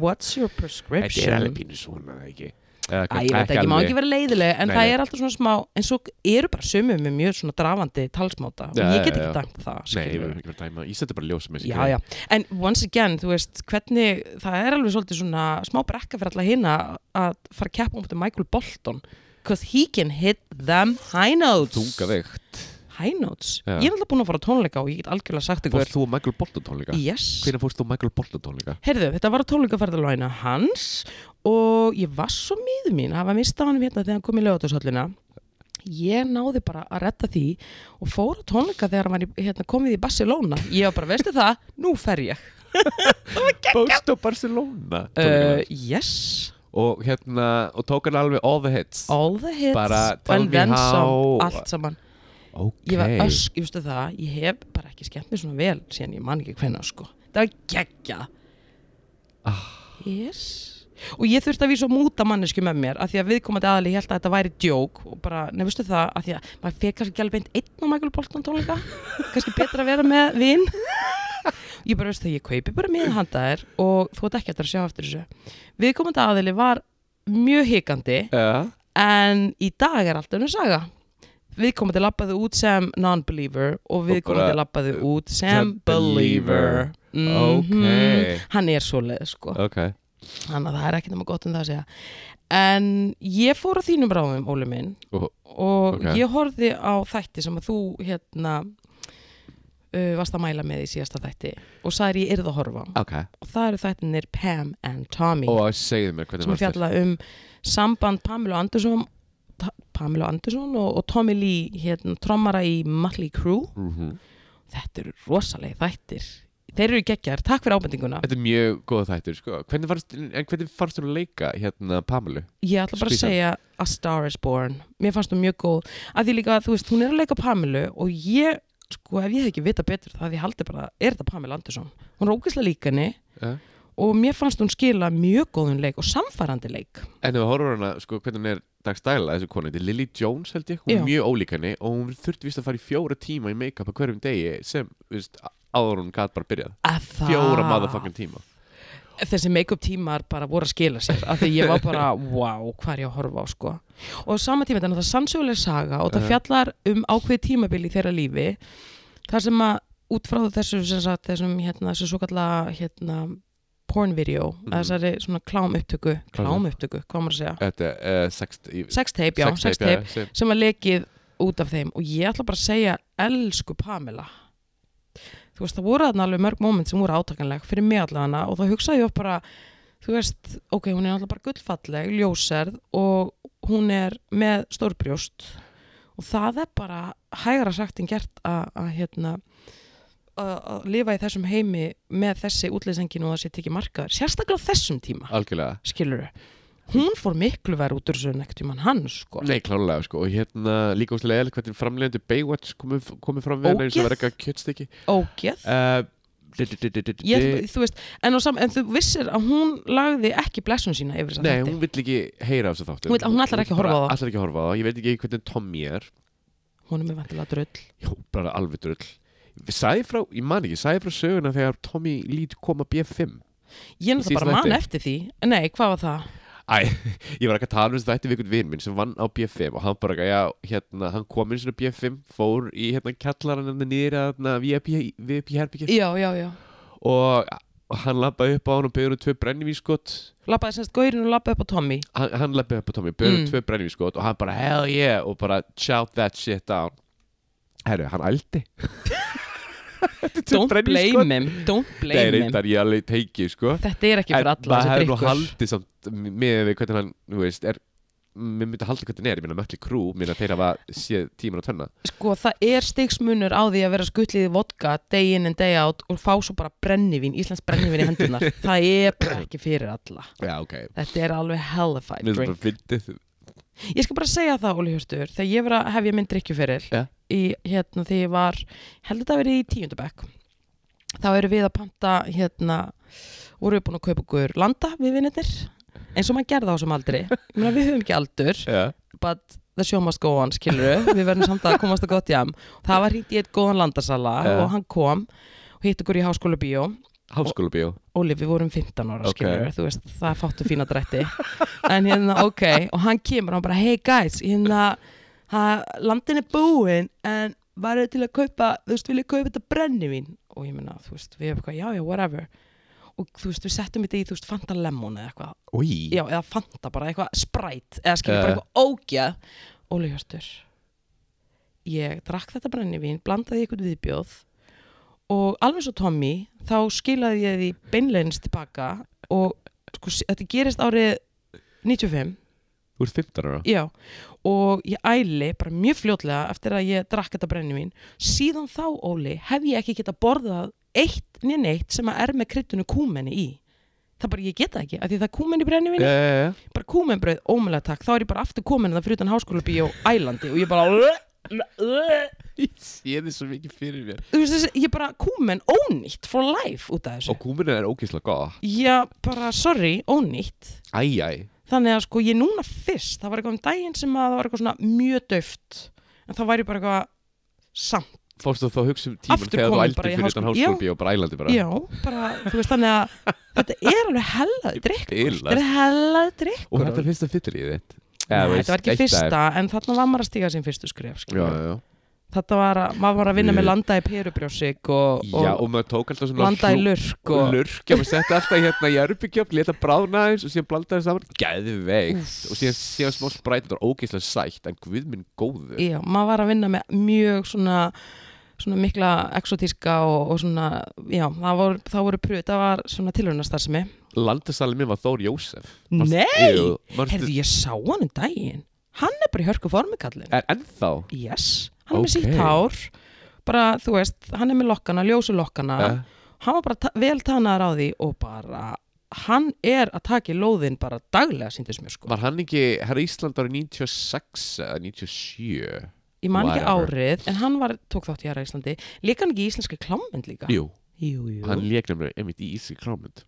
Speaker 2: what's your
Speaker 1: Þetta er alveg
Speaker 2: prescription
Speaker 1: pínu svona, eða ekki? Eða
Speaker 2: Æ,
Speaker 1: hvað-
Speaker 2: ég veit ekki, má
Speaker 1: alveg.
Speaker 2: ekki vera leiðileg en
Speaker 1: Nei,
Speaker 2: það
Speaker 1: nei.
Speaker 2: er alltaf svona smá en svo eru bara sömum með mjög svona drafandi talsmáta og
Speaker 1: Já,
Speaker 2: ég get
Speaker 1: já, já.
Speaker 2: ekki dæmt það
Speaker 1: Nei, ég
Speaker 2: skilurðu.
Speaker 1: verður ekki verið að dæma Ég seti bara ljósa Macy
Speaker 2: Já,
Speaker 1: Gray
Speaker 2: já, en once again, þú veist, hvernig, það er alveg svolítið svona smá brekka fyrir alla hina að fara að keppa um þetta Michael Bolton because he can hit them high notes
Speaker 1: Þungaveikt
Speaker 2: High notes?
Speaker 1: Já.
Speaker 2: Ég er alltaf búin að fara á tónleika og ég get algjörlega sagt ykkur
Speaker 1: Fórst þú á Michael Bolton tónleika?
Speaker 2: Yes,
Speaker 1: Hvernig fórst þú á Michael Bolton tónleika?
Speaker 2: heyrðu, þetta var tónleikaferðalvæna hans og ég var svo miður mín að hafa mistað hann hérna þegar hann kom í lögatushöllina ég náði bara að retta því og fór á tónleika þegar hann var í, hérna, komið í Barcelona ég var bara, veistu það, nú fer ég
Speaker 1: Fórst á Barcelona
Speaker 2: uh,
Speaker 1: tónleika
Speaker 2: Yes,
Speaker 1: Og hérna, og tók hann alveg all the hits
Speaker 2: all the hits
Speaker 1: Bara, tell
Speaker 2: and
Speaker 1: me
Speaker 2: then
Speaker 1: how-
Speaker 2: some, allt saman
Speaker 1: Ok
Speaker 2: ég var ösk, ég veistu það, ég hef bara ekki skemmt mér svona vel síðan ég man ekki hvenna sko það var geggjað yes og ég þurfti að vísa að múta mannesku með mér af því að viðkomandi aðali held að þetta væri djók og bara, nefn veistu það, af því að maður fekk kannski ekki alveg beint einn á Michael Bolton tónleika kannski betra að vera með vin ég bara veistu það, ég kaupi bara mér handa þér og þú ert ekki eftir að sjá eftir þessu viðkomandi aðali var mjög hikandi
Speaker 1: uh,
Speaker 2: en í dag er allt önnur saga við komum til lappaðu út sem non-believer og við
Speaker 1: Og
Speaker 2: komum
Speaker 1: bara-
Speaker 2: til lappaðu út sem
Speaker 1: sem
Speaker 2: believer
Speaker 1: believer.
Speaker 2: Mhm. hann er svoleið sko
Speaker 1: Ok Ok
Speaker 2: þannig að það er ekkert nema gott um það að segja en ég fór á þínum ráðum Óli minn
Speaker 1: Og-
Speaker 2: og
Speaker 1: ok.
Speaker 2: ég horfði á þætti sem að þú hérna uh, varst að mæla með í síðasta þætti og sagði ég yrð að horfa á.
Speaker 1: Ok.
Speaker 2: og það eru þættinir Pam and Tommy
Speaker 1: Og segðu mér hvernig
Speaker 2: sem
Speaker 1: var þetta.
Speaker 2: fjalla um samband Pamela Anderson Ta- Pamela Anderson og, og Tommy Lee hérna, trommara í Motley Crue
Speaker 1: Mhm.
Speaker 2: þetta eru rosalegi þættir þeir eru geggjar, takk fyrir ábendinguna
Speaker 1: Þetta er mjög góð þættur, sko. Hvernig varst, en hvernig fannst þú að leika hérna Pamelu?
Speaker 2: ég ætla bara að
Speaker 1: Skrítan.
Speaker 2: segja A Star is Born mér fannst hún mjög góð að því líka, þú veist, hún er að leika Pamelu og ég, sko, ef ég hef ekki vita betur það hef ég haldið bara, er þetta Pamela Anderson hún er ógeðslega líka henni
Speaker 1: Ja.
Speaker 2: og mér fannst hún skila mjög góðun leik og samfærandi leik
Speaker 1: En ef við horfum á hana, sko, hvernig hún er dagstæla þessu konu, þetta er Lily Jones held ég, hún
Speaker 2: Já.
Speaker 1: er mjög ólík henni og hún þurfti vist að fara í fjóra tíma í make-up á hverjum degi sem, þú veist, áður hún gat bara byrjað.
Speaker 2: Að það-
Speaker 1: Fjóra motherfucking tíma.
Speaker 2: þessi make-up tímar bara voru að skila sér af því ég var bara, wow, hvað er ég að horfa á sko. og á sama tíma, þannig að það er sannsöguleg saga og það
Speaker 1: Mhm.
Speaker 2: fjallar um ákveð tímabil í þeirra lífi þar sem að út frá þessu sem sagt, þessum, hérna, þessu svo kalla hérna, porn video
Speaker 1: Mhm.
Speaker 2: þessari svona klám upptöku klám upptöku, hvað á maður að segja
Speaker 1: Þetta er uh, sex, í-
Speaker 2: sex tape, já, sex
Speaker 1: tape,
Speaker 2: tape
Speaker 1: já, sem-
Speaker 2: sem var lekið út af þeim og ég ætla bara að segja elsku Pamela þú veist það voru þarna alveg mörg moment sem voru átakanleg fyrir mig allavega og þá hugsaði ég oft bara þú veist, ok, hún er alltaf bara gullfalleg ljóserð og hún er með stórbrjóst og það er bara hægra sagt en gert að að, hérna að að lifa í þessum heimi með þessi útlýsengin og það sé tekið markaður sérstaklega á þessum tíma,
Speaker 1: Algjörlega.
Speaker 2: skilur hún fór miklu verð út úr þessu nekt tíman hann sko
Speaker 1: Nei, klárlega, sko, og hérna líka óslega eða hvernig framlegandi Baywatch komið, komið fram við hana eins og
Speaker 2: Ógeð.
Speaker 1: verið eitthvað kjötstykki
Speaker 2: ógeð
Speaker 1: uh, di- di- di- di- di-
Speaker 2: ég,
Speaker 1: di-
Speaker 2: ætla- þú veist, en, á sam, en þú vissir að hún lagði ekki blessun sína yfir þess að
Speaker 1: Nei, hún vill ekki heyra af þessu þáttum
Speaker 2: um Hún vill- hún ætlar ekki að horfa á
Speaker 1: bara-
Speaker 2: það.
Speaker 1: ætlar ekki að horfa á það, ég veit ekki hvernig Tommy er
Speaker 2: hún er með vantilega drull
Speaker 1: Jó, bara alveg drull Sæði frá, ég man ekki, sæði frá söguna þegar Tommy lít kom að B5 Í
Speaker 2: ég er náttúrulega bara
Speaker 1: síðasta
Speaker 2: mann
Speaker 1: þætti.
Speaker 2: eftir því nei, hvað var það?
Speaker 1: Æ, ég var ekki að tala um þess að þetta við einhvern vinn minn sem vann á B5 og hann bara, eitthvað, já, hérna, hann kom eins og B5 fór í, hérna, kjallarann nýra, hérna, VIP, VIP herbyggir
Speaker 2: já, já, já
Speaker 1: og og hann lappaði upp á hann og beður hann tvö brennivískot
Speaker 2: labbaði semst gaurinn og labbaði upp á Tommy
Speaker 1: hann, hann lappaði upp á Tommy, beður hann
Speaker 2: Mm.
Speaker 1: tvö brennivískot og hann bara hell yeah og bara shout that shit down herru, hann ældi Þetta er tvö
Speaker 2: don't
Speaker 1: brennivínsskot.
Speaker 2: blame him, don't
Speaker 1: Nei,
Speaker 2: blame him
Speaker 1: reyndar ég alveg teiki sko
Speaker 2: þetta er ekki fyrir alla
Speaker 1: maður
Speaker 2: þessi
Speaker 1: hefði nú
Speaker 2: drikkur
Speaker 1: haldið samt með við hvernig hann, þú veist, er mér myndi haldið hvernig hann er, ég minna mölli krú minna þeir hafa séð tíman og tönna
Speaker 2: sko, það er stigsmunur á því að vera skutlið í vodka day in and day out og fá svo bara brennivín, Íslands brennivín í hendunar það er bara ekki fyrir alla
Speaker 1: já, ok,
Speaker 2: þetta er alveg hellified
Speaker 1: mér
Speaker 2: drink
Speaker 1: finnst bara fyndið
Speaker 2: Ég skal bara segja það, Óli Hjörtur, þegar ég var að hefja minn drikkjuferil
Speaker 1: Ja.
Speaker 2: í, hérna, þegar ég var, heldur þetta að verið í tíundabæk, þá eru við að panta, hérna, voru við búin að kaupa okkur landa við vinnir, eins og maður gerði á þessum aldri. Ég meina, við höfum ekki aldur,
Speaker 1: já,
Speaker 2: but the show must go on, skilur við, verðum samt að komast að gott jam. Það var hringt í eitt góðan landasala
Speaker 1: Ja.
Speaker 2: og hann kom og hitt okkur í háskóla bíó.
Speaker 1: háskóla bíó
Speaker 2: Óli, við vorum 15 ára,
Speaker 1: Ok.
Speaker 2: skilur, þú veist, það fáttu fína drætti. en hérna, ok, og hann kemur og hann bara, hey guys, hérna, ha, landin er búinn, en varuð til að kaupa, þú veist, viljið kaupa þetta brennivín? Og ég meina, þú veist, við hefum eitthvað, já, já, whatever. Og þú veist, við settum þetta í, þú veist, Fanta Lemon eða eitthvað,
Speaker 1: Í,
Speaker 2: já, eða Fanta bara, eitthvað sprætt, eða skilur, bara
Speaker 1: Eh.
Speaker 2: eitthvað ógjað. Óli Hjörstur, ég drakk þetta brennivín, blandaði í eitthvað viðbjóð, og alveg svo Tommy þá skilaði ég því beinleins tilbaka og sko, s- þetta gerist árið 95
Speaker 1: þú ert 15 ára
Speaker 2: já, og ég æli bara mjög fljótlega eftir að ég drakk þetta brennivín síðan þá Óli hef ég ekki geta borðað eitt nýjan eitt sem að er með kryttinu kúmenni í það bara ég geta ekki, af því það er kúmenni í brennivín
Speaker 1: já, já, já,
Speaker 2: bara kúmenbröð, ómulega takk þá er ég bara aftur kúmenni það fyrir utan háskóla bíó ælandi og ég bara
Speaker 1: ég sé þið svo mikið fyrir mér
Speaker 2: Þú veist, þessi- ég bara kúmen ónýtt for life út af þessu
Speaker 1: og kúmina er ógeðslega góð
Speaker 2: Já, bara sorry, ónýtt
Speaker 1: æj, æj,
Speaker 2: Þannig að sko ég núna fyrst Það var eitthvað um daginn sem að það var eitthvað svona mjög döft En það væri bara eitthvað samt
Speaker 1: fórstu þá að hugsa um tíman
Speaker 2: Aftur
Speaker 1: þegar þú
Speaker 2: komin
Speaker 1: ældi
Speaker 2: bara í
Speaker 1: fyrir utan
Speaker 2: háskóla-
Speaker 1: háskóla bíó og bara ælandi bara
Speaker 2: Já, bara, þú veist þannig að Þetta er alveg hellaði drikkur
Speaker 1: Bilað.
Speaker 2: Þetta er hellaði
Speaker 1: og
Speaker 2: drikkur
Speaker 1: þetta er fyrsta fyttir í þitt Eða,
Speaker 2: Nei,
Speaker 1: þú veist,
Speaker 2: þetta var ekki
Speaker 1: eitt af þeim.
Speaker 2: fyrsta, en þarna var maður að stíga sín fyrstu skref
Speaker 1: já,
Speaker 2: skilurðu.
Speaker 1: já, já
Speaker 2: Þetta var að, maður var að vinna með
Speaker 1: Við-
Speaker 2: landa í perubrjósik og,
Speaker 1: Já, og maður tók alltaf svona
Speaker 2: landa í
Speaker 1: hlú-
Speaker 2: lurk
Speaker 1: og
Speaker 2: og,
Speaker 1: lurkja, maður setti alltaf hérna í erbyggjöfn, leta bráðna aðeins og síðan blanda þess saman, geðveikt og síðan, síðan smá spræt, þetta var ógeðslega sætt en guð minn góður
Speaker 2: Já, maður var að vinna með mjög svona svona mikla exotíska og, og svona, já, það voru, það voru pröð, það var svona tilhörnastarsmi.
Speaker 1: Landastalið minn var Þór Jósef
Speaker 2: Nei!
Speaker 1: Herði
Speaker 2: Herðu, ég sá hann um daginn. Hann er bara í hörku formikallin.
Speaker 1: Er ennþá
Speaker 2: Yes, hann er með
Speaker 1: Ókei.
Speaker 2: sítt hár. Bara, þú veist, hann er með lokkana, ljósu lokkana.
Speaker 1: eh,
Speaker 2: Hann var bara ta- vel tannaður á því og bara, hann er að taka í lóðin bara daglega, síndist mér sko.
Speaker 1: Var hann ekki Herra Ísland árið 96 eða 97
Speaker 2: Ég man ekki
Speaker 1: Whatever.
Speaker 2: árið, en hann var, tók þátt í aðra Íslandi. Líka hann ekki í íslenski klámynd líka?
Speaker 1: Jú,
Speaker 2: jú. jú.
Speaker 1: hann lék nefnilega einmitt í Ísri krámynd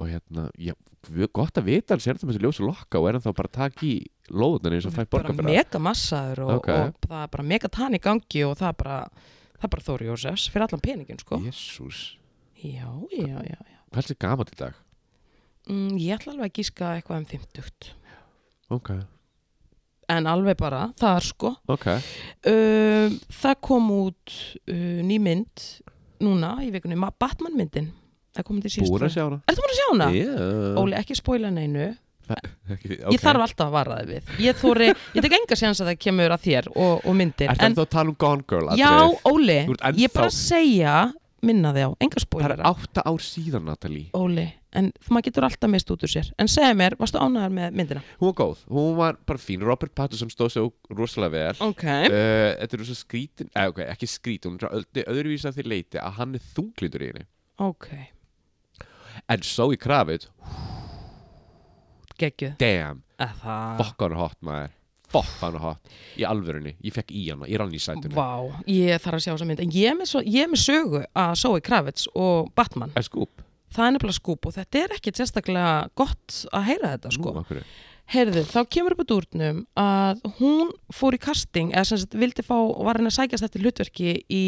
Speaker 1: og hérna, já, guð, gott að vita hann sér það með þessu ljósa lokka og er hann þá bara að taka í lóðunar eins og fæ
Speaker 2: bara
Speaker 1: borga fyrir það
Speaker 2: mega massaður og,
Speaker 1: Ok.
Speaker 2: og það er bara mega tann í gangi og það er bara, það er bara Þóri Jósefs fyrir allan peningin sko.
Speaker 1: Jésús,
Speaker 2: Já, já, já, já.
Speaker 1: hvað er sér gaman í dag?
Speaker 2: Mm, ég ætla alveg að gíska eitthvað um 50
Speaker 1: Ok,
Speaker 2: en alveg bara, það er sko
Speaker 1: ok
Speaker 2: um, það kom út uh, ný mynd núna í vikunni, Ma- Batman myndin það kom út í síðustu
Speaker 1: Búin að sjá hana?
Speaker 2: Er það búin að sjá hana?
Speaker 1: Yeah.
Speaker 2: Óli, ekki spóila neinu
Speaker 1: okay.
Speaker 2: Ég þarf alltaf að vara þið við Ég, þori, ég tek enga séans að það kemur að þér og, og myndir
Speaker 1: Er það þá að tala um Gone Girl?
Speaker 2: Já, Óli,
Speaker 1: Þú ert ennþá-
Speaker 2: ég er bara að segja minna þig á, enga
Speaker 1: Það er
Speaker 2: spóilera
Speaker 1: átta ár síðan, Natalie
Speaker 2: Óli, en maður getur alltaf mist út úr sér En segja mér, varstu ánæðar með myndina?
Speaker 1: Hún var góð, hún var bara fín Robert Pattinson stóð sér rosalega vel
Speaker 2: Ok
Speaker 1: Uh, þetta eru svo skrítin, eh, okay, ekki skrítin hún er öðru- öðruvísi að því leiti að hann er þunglindur í henni
Speaker 2: Ok,
Speaker 1: en Zoe Kravitz,
Speaker 2: geggjuð
Speaker 1: damn,
Speaker 2: Eh, Það
Speaker 1: fokk hann er hot maður fokk hann er hot, í alvörunni ég fekk í hann, ég rann í sætinu
Speaker 2: Vá, ég þarf að sjá þessa mynd En ég er með, svo, ég er með sögu að Zoe Kravitz og Batman
Speaker 1: er skúp,
Speaker 2: Það er nefnilega skúp og þetta er ekkit sérstaklega gott að heyra þetta sko
Speaker 1: Nú, af hverju?
Speaker 2: Heyrðu, þá kemur upp úr dúrnum að hún fór í casting eða sem sagt vildi fá, var henni að sækjast eftir hlutverki í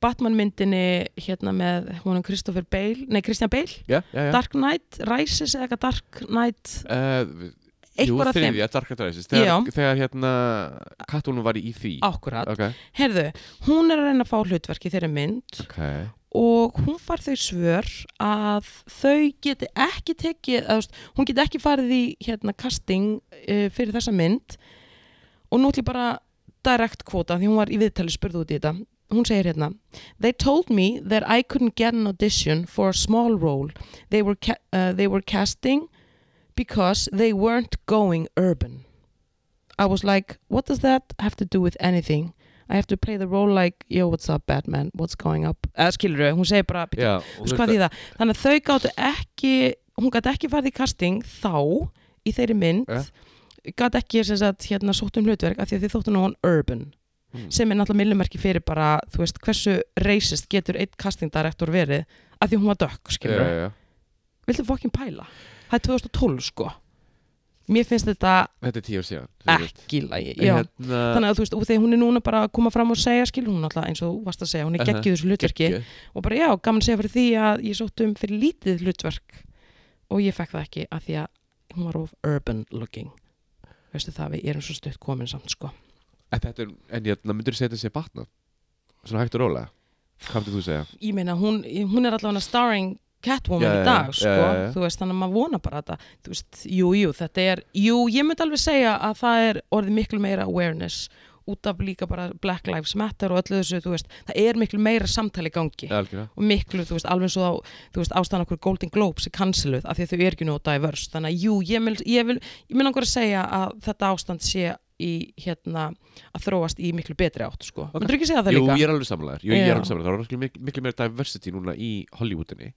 Speaker 2: Batman myndinni hérna með húnum Christopher Bale, nei Christian Bale
Speaker 1: já, já, já
Speaker 2: Dark Knight, Rises eða eitthvað Dark Knight
Speaker 1: Uh, jú,
Speaker 2: eitthvað af þeim,
Speaker 1: þriðja, Dark Knight Rises
Speaker 2: Já.
Speaker 1: þegar, þegar hérna kattúnum var í því
Speaker 2: ákkurat
Speaker 1: ok,
Speaker 2: Heyrðu, hún er að reyna að fá hlutverki í þeirri mynd
Speaker 1: ok
Speaker 2: og hún fær þau svör að þau geti ekki tekið, að, þú veist, hún geti ekki farið í hérna casting uh, fyrir þessa mynd og nú ætlum ég bara direct kvota því hún var í viðtali spurði út í þetta hún segir hérna They told me that I couldn't get an audition for a small role they were, ca uh, they were casting because they weren't going urban I was like what does that have to do with anything I have to play the role like yo what's up Batman what's going up eða skilur þau, hún segir bara "Bíddu,
Speaker 1: já,
Speaker 2: Þú veist hvað Sko, því það þannig að þau gáttu ekki hún gæti ekki farið í casting þá í þeirri mynd
Speaker 1: Ja.
Speaker 2: yeah. gæti ekki sem sagt, hérna, sótt um hlutverk af því að þið þóttu nú hann urban
Speaker 1: Mm.
Speaker 2: sem er náttúrulega millumarki fyrir bara þú veist hversu racist getur eitt castingdirektor verið af því hún var dökk skilur
Speaker 1: já, já, já.
Speaker 2: viltu fokkin pæla það er 2012 sko mér finnst þetta
Speaker 1: þetta er tíu ár síðan þú veist.
Speaker 2: ekki í lagi Ah, já.
Speaker 1: hérna,
Speaker 2: þannig að þú veist og þegar hún er núna bara að koma fram og segja skilur hún alltaf eins og þú varst að segja hún er
Speaker 1: Aha.
Speaker 2: geggið þessu hlutverki
Speaker 1: geggjuð.
Speaker 2: og bara já, gaman að segja fyrir því að ég sótt um fyrir lítið hlutverk og ég fekk það ekki af því að hún var of urban looking veistu það, við erum svo stutt komin samt sko
Speaker 1: En þetta er, en hérna, myndur þú segja þetta sé batna? Svona hægt og rólega? Hvað myndir þú segja?
Speaker 2: ég meina, hún, hún er allavega starring Catwoman
Speaker 1: Já, já,
Speaker 2: í dag,
Speaker 1: já,
Speaker 2: sko
Speaker 1: já, já, já.
Speaker 2: þú veist, þannig að maður vonar bara þetta þú veist, jú, jú, þetta er, jú, ég myndi alveg segja að það er orðið miklu meira awareness út af líka bara Black Lives Matter og öllu þessu, þú veist það er miklu meira samtali í gangi
Speaker 1: Algjörða?
Speaker 2: og miklu, þú veist, alveg eins og þá, þú veist, ástæðan okkur Golden Globes er canceluð af því að þau er ekki nú diverse, þannig að jú, ég vil, ég vil, ég vil langar að segja að þetta ástand sé í, hérna, að þróast í miklu betri átt, sko.
Speaker 1: Ok.
Speaker 2: Okay. Myndur ekki segja það
Speaker 1: Jú,
Speaker 2: líka?
Speaker 1: ég er alveg samlæður. Jú, ég
Speaker 2: Já.
Speaker 1: er alveg samlæður. Það er miklu, miklu, miklu meira diversity núna í Hollywoodinni.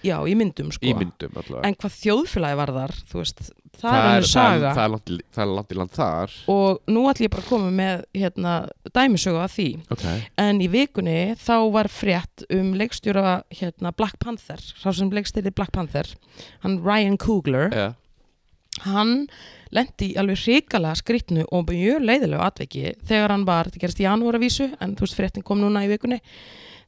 Speaker 2: Já, í myndum, sko.
Speaker 1: Í myndum allavega.
Speaker 2: En hvað þjóðfélagi varðar, þú veist, það, er
Speaker 1: það,
Speaker 2: hann saga
Speaker 1: það, er langt í- það er land í land þar.
Speaker 2: og nú ætlum ég bara að koma með, hérna, dæmisögu að því.
Speaker 1: Ok.
Speaker 2: En í vikunni þá var frétt um leikstjóra, hérna, Black Panther, sá sem leikstjóri Black Panther, hann Ryan Coogler.
Speaker 1: Já.
Speaker 2: hann lendi í alveg hrikalega skrýtnu og mjög leiðilegu atveki þegar hann var, þetta gerist í janúaravísu en þú veist fréttin kom núna í vikunni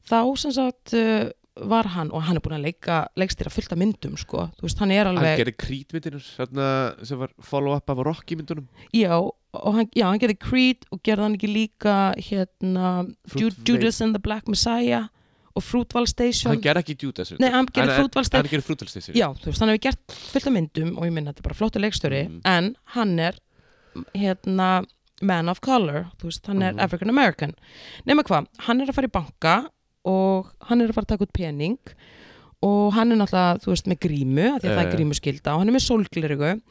Speaker 2: þá sem sagt uh, var hann og hann er búin að leika, leikstýra fullt af myndum sko, þú veist hann er
Speaker 1: Hann
Speaker 2: alveg
Speaker 1: gerði krítmyndinu hérna, sem var follow-up af Rocky myndunum.
Speaker 2: já, og hann, já, hann gerði Creed og gerði hann ekki líka hérna Ju-
Speaker 1: Fruitvale.
Speaker 2: Judas and the Black Messiah og Fruitvale Station
Speaker 1: Hann gerði ekki Judas.
Speaker 2: nei, hann gerði
Speaker 1: Hann-
Speaker 2: Fruitvale Station
Speaker 1: Hann gerði Fruital Station.
Speaker 2: Já, þú veist, hann hefur gert fullt af myndum og ég minna þetta er bara flottu leikstöri
Speaker 1: Mhm.
Speaker 2: en hann er hérna man of color, þú veist, hann er
Speaker 1: Mhm.
Speaker 2: African American nema hvað, hann er að fara í banka og hann er að fara að taka út pening og hann er náttúrulega, þú veist, með grímu af því að það
Speaker 1: Já,
Speaker 2: er
Speaker 1: já.
Speaker 2: grímuskylda og hann er með sólglerugu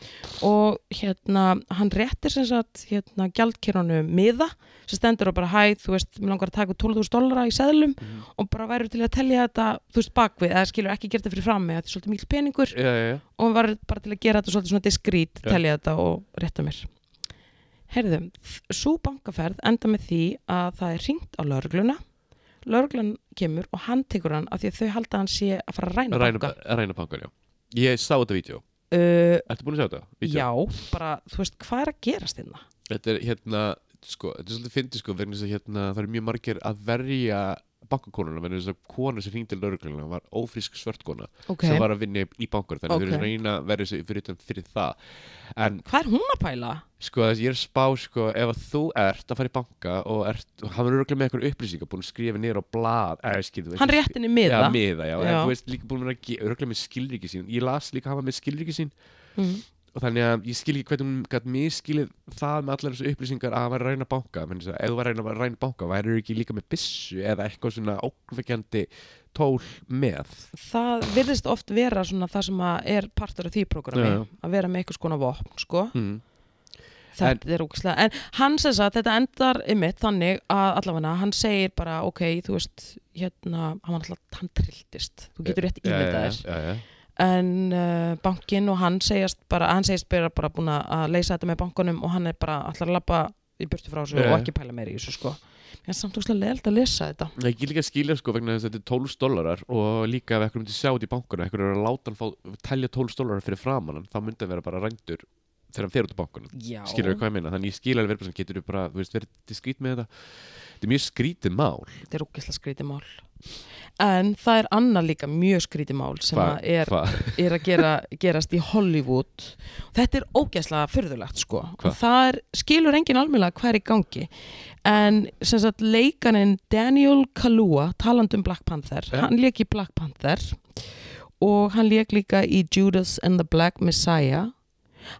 Speaker 2: og hérna, hann réttir sem sagt, hérna, gjaldkerunum miða sem stendur og bara, hæ, þú veist, mér langar að taka út 12.000 dollara í seðlum
Speaker 1: Mhm.
Speaker 2: og bara væri til að telja þetta, þú veist, bakvið eða skilur ekki gert þetta fyrir frammi, þetta er svolítið mikil peningur
Speaker 1: já, já, já.
Speaker 2: og hún var bara til að gera þetta svolítið svona diskrít,
Speaker 1: Já.
Speaker 2: telja þetta og rétta mér heyrðu, svo bankaferð enda með því að það er ringt á lörgluna lörglan kemur og hann tekur hann af því að þau halda að hann sé að fara að ræna,
Speaker 1: Ræna,
Speaker 2: banka
Speaker 1: ræna bankan, já Ég sá þetta vídeo,
Speaker 2: uh,
Speaker 1: ertu búin að sjá þetta? Vídeó?
Speaker 2: já, bara, þú veist, hvað er að gerast þérna?
Speaker 1: Þetta er hérna, sko, þetta er svolítið fyndið sko vegna þess að hérna, það eru mjög margir að verja bankakonuna, vegna þess að kona sem hringdi lögregluna var ófrísk svörtkona
Speaker 2: ok,
Speaker 1: sem var að vinna í bankur, þannig okay. þau eru
Speaker 2: Ok.
Speaker 1: að reyna að verja sig fyrir, utan fyrir það en
Speaker 2: hvað er hún að pæla?
Speaker 1: sko þess að ég er að spá sko ef að þú ert að fara í banka og ert og hann er örgulega með eitthvað upplýsingar búin að skrifa niður á blað eða skilur
Speaker 2: hann rétt henni miða
Speaker 1: Já, miða, já, En
Speaker 2: Já.
Speaker 1: þú veist líka búin að vera örgulega með skilríki sín ég las líka að hann var með skilríki sín
Speaker 2: mm.
Speaker 1: og þannig að ég skil ekki hvernig hún gætt miskilið það með allar þessu upplýsingar að hann var að ræna banka menn þess að ef þú var að ræna, ræna banka væri ekki líka með byssu eða eitthvað svona ókvækjandi tól með
Speaker 2: það virðist oft vera svona það sem að er partur af því programmi
Speaker 1: Já, já.
Speaker 2: að vera með eitthvað skona vopn, sko
Speaker 1: mm.
Speaker 2: þetta er ógæslega, en hann sem sagt þetta endar ymmit þannig að allavega hann segir bara, ok, þú veist hérna, hann var alltaf, hann trilltist þú getur rétt ímyndað þér
Speaker 1: ja, ja,
Speaker 2: en uh, bankin og hann segist bara, hann segist bara, bara búin að leysa þetta með bankunum og hann er bara alltaf að labba í burtu frá þessu
Speaker 1: Já,
Speaker 2: og
Speaker 1: já.
Speaker 2: ekki pæla meir í þessu, sko en samt ógæslega leðalt að lesa þetta
Speaker 1: Ég get líka að skilja sko vegna þess að þetta er 12 dólarar og líka ef eitthvað myndi sjá þetta í bankuna eitthvað er að láta hann fá, telja 12 dólarar fyrir framann þá myndi hann vera bara rændur þegar hann fer út á bankuna
Speaker 2: Já.
Speaker 1: skilur hvað ég meina, þannig ég skilja alveg verið sem getur bara, þú veist, verið diskrít með þetta þetta er mjög skrítið mál
Speaker 2: þetta er ógæslega skrítið mál en það er annað líka mjög skrítið mál sem
Speaker 1: Hva-
Speaker 2: að er,
Speaker 1: hva-
Speaker 2: er að gera, gerast í Hollywood þetta er ógæslega fyrðulegt sko
Speaker 1: Hva?
Speaker 2: og það er, skilur engin almennlega hvað er í gangi en sem sagt leikaninn Daniel Kaluuya talandi um Black Panther
Speaker 1: Ja.
Speaker 2: hann leik í Black Panther og hann leik líka í Judas and the Black Messiah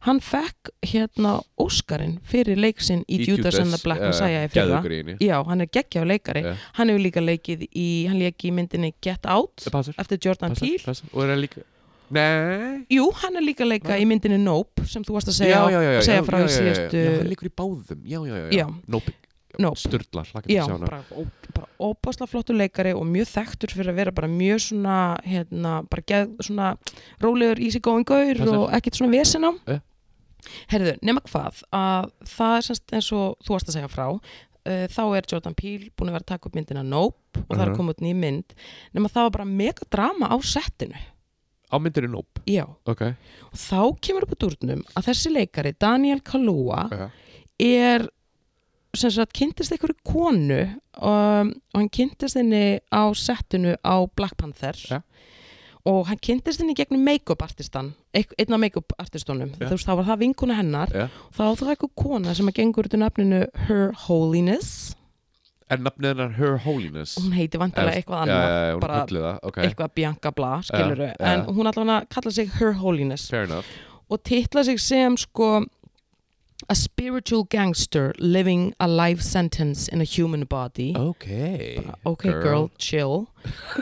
Speaker 2: hann fekk hérna Óskarinn fyrir leiksinn í, Judas, and the Black
Speaker 1: eh,
Speaker 2: Messiah í fyrra
Speaker 1: geðveikur í henni.
Speaker 2: Já, hann er geggjáð leikari
Speaker 1: Já.
Speaker 2: Hann hefur líka leikið í, hann leik í myndinni Get Out
Speaker 1: Eh, Passar,
Speaker 2: eftir Jordan
Speaker 1: passar,
Speaker 2: Peele
Speaker 1: passar Og er hann líka Nei
Speaker 2: Jú, hann er líka leika
Speaker 1: Já.
Speaker 2: í myndinni Nope sem þú varst að segja, segja frá í síðustu
Speaker 1: Já, hann líkur í báðum Já, já, já, já.
Speaker 2: Já.
Speaker 1: Nope,
Speaker 2: Nope
Speaker 1: Sturla, hlakka til
Speaker 2: Já,
Speaker 1: að sjá hana
Speaker 2: bara, ó, bara óbásla flottur leikari og mjög þekktur fyrir að vera bara mjög svona hérna, bara geð, svona rólegur easy going gaur
Speaker 1: Passar. Eh?
Speaker 2: og ekkert svona vesen á
Speaker 1: Ja.
Speaker 2: Herðu, nema hvað að það er semst eins og þú varst að segja frá uh, þá er Jordan Peele búin að vera að taka upp myndina Nope og það er
Speaker 1: Mhm.
Speaker 2: að koma út ný mynd nema það var bara mega drama á settinu
Speaker 1: Á myndinu Nope,
Speaker 2: Já,
Speaker 1: ok
Speaker 2: og þá kemur upp úr durnum að þessi leikari Daniel Kaluuya
Speaker 1: Já.
Speaker 2: er sem sagt kynntist einhverju konu um, og hann kynntist henni á settinu á Black Panther
Speaker 1: Ja.
Speaker 2: og hann kynntist henni gegnum make-up artistan eik- einn af make-up artistunum
Speaker 1: Ja.
Speaker 2: þú veist þá var það vinkuna hennar
Speaker 1: Já.
Speaker 2: þá var það eitthvað kona sem að gengur út úr nafninu Her Holiness
Speaker 1: En nafnið hennar Her Holiness
Speaker 2: og hún heiti vantilega
Speaker 1: Ef-
Speaker 2: eitthvað
Speaker 1: Já,
Speaker 2: annað
Speaker 1: já, já, hún
Speaker 2: bara
Speaker 1: kallið það, ok
Speaker 2: eitthvað Bianca Bla skiluru
Speaker 1: Ja, ja.
Speaker 2: en hún allavega kalla sig Her Holiness
Speaker 1: Fair enough
Speaker 2: og titla sig sem sko A spiritual gangster living a life sentence in a human body
Speaker 1: Ok
Speaker 2: Ok
Speaker 1: Oh, girl.
Speaker 2: girl, chill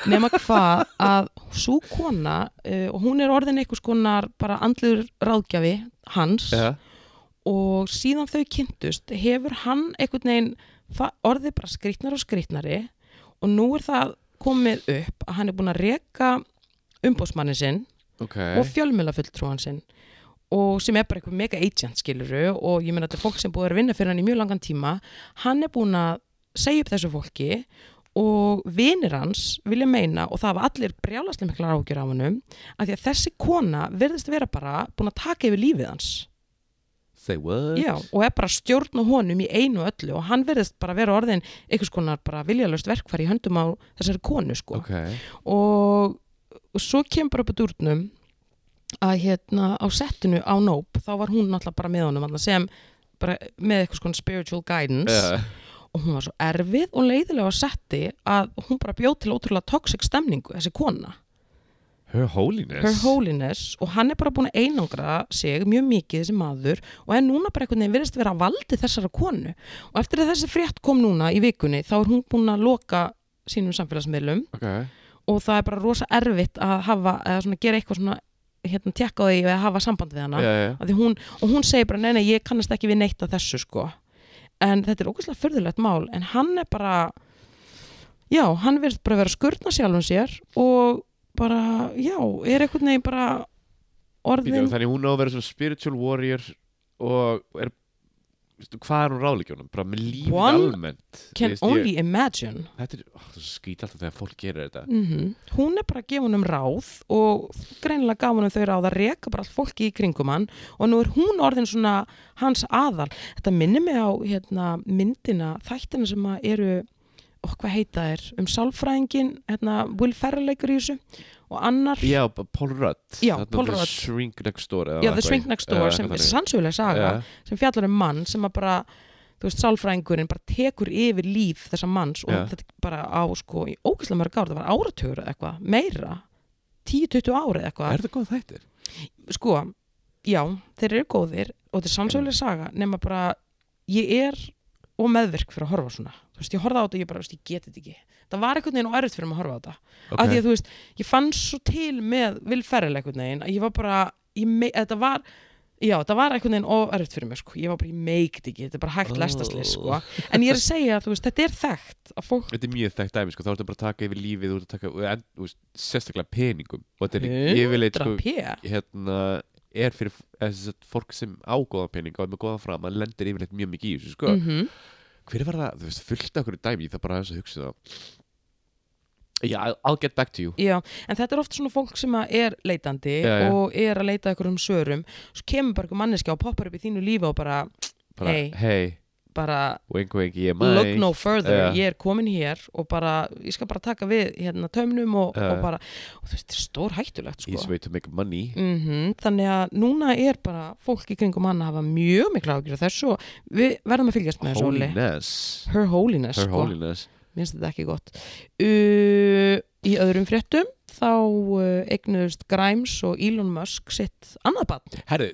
Speaker 2: nema hvað að sú kona uh, og hún er orðin einhvers konar bara andlur ráðgjafi hans
Speaker 1: Já,
Speaker 2: og síðan þau kynntust hefur hann einhvern veginn fa- orðið bara skrýtnar og skrýtnari og nú er það komið upp að hann er búin að reka umbóðsmannin sinn
Speaker 1: ok
Speaker 2: og fjölmjöla fulltrúan sinn og sem er bara eitthvað mega agent skiluru og ég meina þetta er fólk sem búið að vera að vinna fyrir hann í mjög langan tíma hann er búin að segja upp þessu fólki og vinir hans vilja meina og það hafa allir brjálaslega miklar ágjur á hannum að því að þessi kona verðist vera bara búin að taka yfir lífið hans
Speaker 1: Say what?
Speaker 2: Já, og er bara að stjórna honum í einu og öllu og hann verðist bara vera orðin einhvers konar bara viljalöst verkfæri í höndum á þessari konu sko
Speaker 1: Ok
Speaker 2: og, og svo kemur bara upp að durnum að hérna á settinu á Nope þá var hún náttúrulega bara með honum þarna sem bara með eitthvað svona spiritual guidance
Speaker 1: Já,
Speaker 2: og hún var svo erfið og leiðilega á setti að hún bara bjóð til ótrúlega toxic stemningu þessi kona
Speaker 1: Her holiness
Speaker 2: Her Holiness og hann er bara búin að einangra sig mjög mikið þessi maður og er núna bara einhvern veginn virðist vera að valdi þessara konu og eftir að þessi frétt kom núna í vikunni þá er hún búin að loka sínum samfélagsmiðlum
Speaker 1: Ok,
Speaker 2: og það er bara rosa erfitt að hafa eða svona gera eitthvað svona hérna tjekka á því eða hafa samband við hana
Speaker 1: já, já, já.
Speaker 2: Af því hún, og hún segir bara nei nei ég kannast ekki við neitt af þessu sko en þetta er ókvæslega förðulegt mál en hann er bara já, hann virðist bara vera að skurna sjálfum sér og bara, já, er einhvern veginn bara
Speaker 1: Býtum,
Speaker 2: orðin
Speaker 1: Þannig hún á að vera svona spiritual warrior og er veistu, hvað er hún ráðleikjónum? Bara með lífið
Speaker 2: One
Speaker 1: almennt
Speaker 2: can
Speaker 1: veist,
Speaker 2: only imagine
Speaker 1: ég, Þetta er, ó, það skýt alltaf þegar fólk gerir þetta
Speaker 2: mm hún er bara að gefa honum ráð og greinilega gaf honum þau ráð að reka bara allt fólki í kringum hann og nú er hún orðin svona hans aðal þetta minnir mig á hérna, myndina þættina sem að eru og hvað heita þær um sálfræðingin hérna, Will Ferrell leikur í þessu og annar
Speaker 1: Já, b- Paul Rudd
Speaker 2: Já,
Speaker 1: Þarna
Speaker 2: Paul
Speaker 1: The
Speaker 2: Rudd.
Speaker 1: Shrink Next Door eða
Speaker 2: Já, The
Speaker 1: eitthvað.
Speaker 2: Shrink Next Door
Speaker 1: Já,
Speaker 2: sem
Speaker 1: eitthvað
Speaker 2: sannsögulega saga
Speaker 1: þannig.
Speaker 2: sem fjallar um mann sem að bara þú veist, sálfræðingurinn bara tekur yfir líf þessa manns og
Speaker 1: Já.
Speaker 2: þetta bara á sko, í ógæslega mörg ár, það var áratugur eða eitthvað, meira 10-20 árið
Speaker 1: Já,
Speaker 2: eitthvað,
Speaker 1: er þetta góð þættir?
Speaker 2: sko já, þeir eru góðir og þetta er samsögulega saga nema bara, ég er og meðvirk fyrir að horfa á svona þú veist, ég horfði á þetta og ég bara, þú veist, ég geti þetta ekki það var einhvern veginn og erfitt fyrir mig að horfa á þetta okay. að því að þú veist, ég fann svo til með vilferðileg einhvern veginn að ég var bara, ég me, þetta var já, þetta var einhvern veginn óerfitt fyrir mig sko. ég var bara, ég meikti ekki, þetta er bara hægt
Speaker 1: Oh.
Speaker 2: oh. sko. en ég er að segja, þú veist, þetta er þekkt að fólk
Speaker 1: Þetta er mjög þekkt dæmi, sko, þá ertu bara að taka yfir lífið og taka, og en, þú veist, sérstaklega peningum og þetta er yfirleitt, sko,
Speaker 2: drapé
Speaker 1: hérna er fyrir þess að fólk sem ágóða peninga og er með góða fram að lendir yfirleitt mjög mikið í þessu sko
Speaker 2: Mhm.
Speaker 1: hver var það, þú veist, fullt af hverju dæmi það bara þess að hugsa það já, I'll- I'll get back to you
Speaker 2: Já, en þetta er oft svona fólk sem að er leitandi
Speaker 1: Já, já.
Speaker 2: og er að leita ykkur um sörum svo kemur bara ykkur manneskja og poppar upp í þínu lífi og bara,
Speaker 1: bara,
Speaker 2: Hey.
Speaker 1: hey,
Speaker 2: bara
Speaker 1: wink wink, ég er
Speaker 2: look
Speaker 1: mæ
Speaker 2: no further,
Speaker 1: Já.
Speaker 2: ég er komin hér og bara, ég skal bara taka við hérna tömnum og,
Speaker 1: Já.
Speaker 2: og bara og þú veist, þetta er stór hættulegt sko
Speaker 1: easy way to make money
Speaker 2: Mhm, þannig að núna er bara fólk í kringum hann að hafa mjög mikla ágjur þessu og við verðum að fylgjast með þessu Óli.
Speaker 1: holiness
Speaker 2: Her holiness,
Speaker 1: her
Speaker 2: sko, holiness.
Speaker 1: holiness
Speaker 2: minnst þetta ekki gott uh, í öðrum fréttum þá uh, eignuðust Grimes og Elon Musk sitt annað bann
Speaker 1: herru,